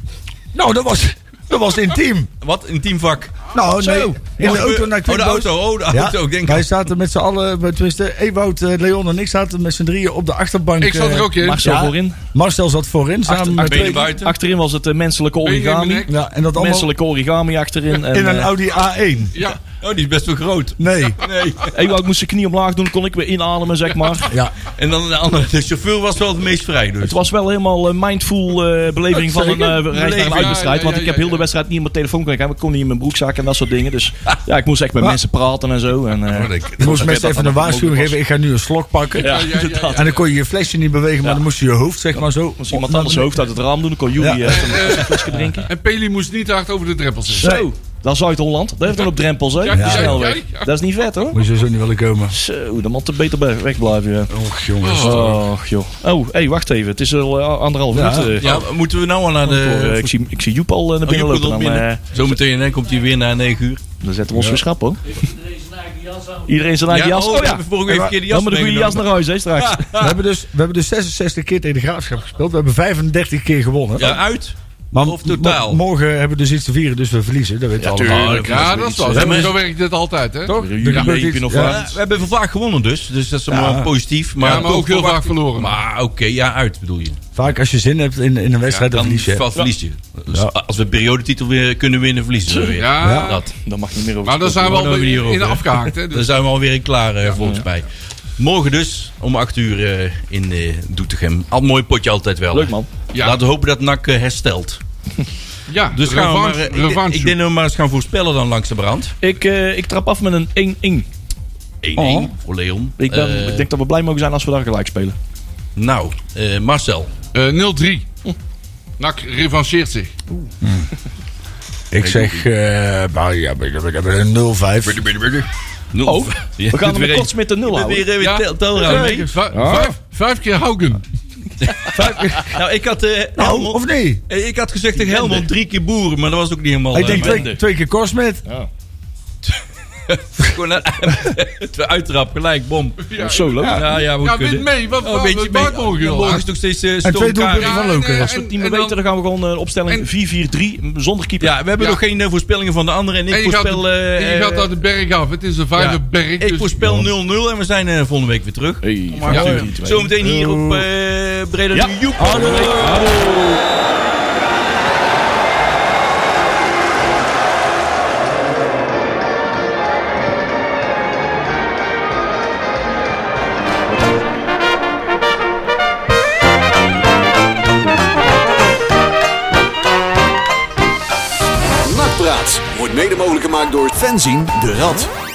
S3: Nou, dat was, dat was intiem.
S2: Wat? Een teamvak?
S3: Nou,
S2: Zo.
S3: nee. In
S2: Wat
S3: de auto
S2: gebe-
S3: naar
S2: Oh, de
S3: Quickboys.
S2: auto. Oh, de
S3: Ja,
S2: auto. Ik denk
S3: wij zaten met z'n allen, eh, tenminste, Ewout, eh, Leon en ik zaten met z'n drieën op de achterbank.
S4: Ik zat er
S3: eh,
S4: ook in.
S5: Marcel
S3: Ja.
S5: voorin.
S3: Marcel zat voorin, samen
S5: Achter-
S3: met
S5: achter-
S2: benen
S3: twee-
S2: buiten.
S5: Achterin was het eh, menselijke origami.
S4: nek.
S3: Ja, en dat allemaal
S5: Menselijke origami achterin. En,
S3: [laughs] in een
S5: eh,
S3: Audi A1.
S4: Ja,
S2: Oh, die is best wel groot.
S3: Nee.
S2: Nee.
S5: Ewout moest zijn knie omlaag doen, kon ik weer inademen,
S3: [laughs]
S5: zeg maar.
S3: Ja,
S2: En dan de andere. De chauffeur was wel het meest vrij. Dus.
S5: Het was wel helemaal een mindful eh, beleving van een eh, reis naar
S2: Beleving.
S5: een uitwedstrijd.
S4: Ja,
S5: Want
S4: ja,
S5: ik heb
S4: ja,
S5: heel de
S4: ja.
S5: wedstrijd niet in mijn telefoon kunnen kijken. Ik kon niet in mijn broekzak en dat soort dingen. Dus ja, ik moest echt
S4: Ah.
S5: met mensen praten en zo. En, eh,
S2: Oh, dat-
S3: ik moest
S5: dat
S3: mensen
S5: dat
S3: even
S5: dan
S3: een
S5: ook
S3: waarschuwing
S5: was.
S3: geven. Ik ga nu een slok pakken.
S5: ja,
S4: ja, ja,
S5: inderdaad.
S4: ja.
S3: En dan kon je je flesje niet bewegen, maar dan moest je je hoofd zeg maar zo...
S5: Moest iemand anders zijn hoofd uit het raam doen, dan kon
S3: Ja.
S5: jullie eh, een flesje drinken.
S4: En Peli moest niet te hard over de drempel zitten.
S5: Zo, dat is Zuid-Holland. Dat heeft dan op drempels, hè?
S4: Ja,
S5: die
S4: ja,
S5: snelweg.
S4: ja, ja.
S5: Dat is niet vet, hoor.
S3: Moet je zo niet willen komen.
S5: Zo, dan moet er beter bij- weg blijven, ja.
S3: Och jongens.
S5: Och, joh. Oh, hé, wacht even. Het is al eh, anderhalf
S3: Ja.
S5: uur. eh.
S2: Ja, maar moeten we nou al naar
S5: Ik hoor, eh,
S2: de...
S5: ik, zie, ik zie Joep al eh,
S2: Oh,
S5: naar binnen
S2: Joep komt
S5: lopen.
S2: al
S5: Dan,
S2: binnen.
S5: eh,
S2: Zometeen hè, komt hij weer na 9 uur.
S5: dan zetten we ons weer schrap, hoor. Iedereen zijn
S2: Ja,
S5: eigen jas aan.
S2: oh, we
S5: Iedereen zijn eigen jas.
S2: hebben vorige week verkeerde jas
S5: Dan moet de goede jas
S2: meegenomen.
S5: naar huis, hè, straks. [laughs]
S3: We hebben, dus, we hebben dus 66 keer tegen de Graafschap gespeeld. We hebben 35 keer gewonnen.
S2: Ja, uit.
S3: maar
S2: of totaal?
S3: mo- morgen hebben we dus iets te vieren, dus we verliezen. Dat weten we allemaal.
S2: tuurlijk.
S4: Ja, dat is wel.
S2: Ja, maar-
S4: Zo werkt dit altijd, hè?
S3: Toch?
S5: Een
S3: Er gebeurt
S5: jubileum
S3: iets.
S5: of
S3: Ja.
S5: wat.
S2: Ja, we hebben veel vaak gewonnen dus. Dus dat is allemaal
S3: Ja.
S2: positief. Maar,
S4: Ja, maar ook
S2: toch
S4: heel vaak
S2: verwacht-
S4: verloren.
S2: Maar oké, ja, uit bedoel je.
S3: Vaak als je zin hebt in, in een wedstrijd, dan
S2: dan
S3: verlies je.
S2: valt- verlies je. Dus
S3: Ja.
S2: als we periodetitel weer kunnen winnen, verliezen we weer.
S4: Ja.
S2: Dat.
S5: Dat mag niet meer over.
S4: Maar daar zijn we
S2: Daar
S4: al
S2: hebben we hier
S4: in,
S2: ook,
S4: in
S2: hè?
S4: afgehaakt,
S2: [laughs]
S4: hè?
S2: Daar
S4: Dus
S2: zijn we alweer in klaar eh, volgens mij. Morgen dus om 8 uur eh, in eh, Doetinchem. Al een mooi potje altijd wel.
S5: Leuk, man.
S4: Ja.
S2: Laten we hopen dat NAC eh, herstelt.
S4: ja,
S2: Dus gaan we maar, eh,
S4: revanche.
S2: ik denk-
S4: revanche.
S2: ik denk dat we maar eens gaan voorspellen dan langs de brand. 1-1
S5: Ik, eh, ik trap af met een 1-1.
S2: voor Leon.
S5: Ik, ben,
S2: Oh. Eh,
S5: ik denk dat we blij mogen zijn als we daar gelijk
S2: [laughs]
S5: spelen.
S2: Nou, eh,
S5: Oh.
S2: Marcel.
S4: Eh, 0-3. NAC revancheert zich.
S3: Ik zeg, eh nou ja, we hebben een 0-5.
S2: Nul.
S5: Oh,
S2: [laughs] Je
S5: we
S2: doet
S5: gaan hem
S2: weer
S5: een
S2: een-
S5: kots met een nul
S2: Je doet
S5: houden.
S2: weer eh, weer
S4: Ja.
S2: tel- telraam mee.
S4: Vijf, vijf, vijf keer Haugen.
S2: Nou, ik had, eh,
S3: Nou,
S2: Helmond,
S3: of niet?
S2: eh, ik had gezegd tegen Helmond drie keer boeren, maar dat was ook niet helemaal...
S3: Ik
S2: eh,
S3: denk
S2: mijn-
S3: twee, twee keer Korsmet.
S2: Gewoon [laughs] een uitrap, gelijk, bom.
S5: Zo leuk.
S2: Ja, ja, we
S4: Ja, win
S2: kunnen.
S4: mee. Wat
S2: Oh, een beetje mee.
S4: maakt morgen heel
S2: Morgen
S4: laag.
S2: is nog steeds eh
S3: En twee
S2: stormkaart.
S3: doelpunten van
S4: Ja,
S3: Loken.
S4: nee,
S5: Als we
S4: en-
S5: 10
S4: en
S5: meer
S4: dan-
S5: weten, dan gaan we gewoon eh, opstelling
S4: en-
S5: 4-4-3 mm, zonder keeper.
S2: Ja, we hebben
S4: Ja.
S2: nog geen eh, voorspellingen van de anderen. En ik
S4: En je gaat,
S2: voorspel...
S4: de,
S2: eh,
S4: en je gaat
S2: eh,
S4: naar de berg af. Het is een dus- vijverberg.
S2: ja, Ik voorspel 0-0 en we zijn eh, volgende week weer terug.
S5: Hey,
S4: Ja.
S5: vier, vier, twee.
S2: Zometeen hier op eh Breda
S5: Ja.
S2: Nu. Joep. Hallo.
S1: Nakpraat wordt mede mogelijk gemaakt door fanzine de Rad.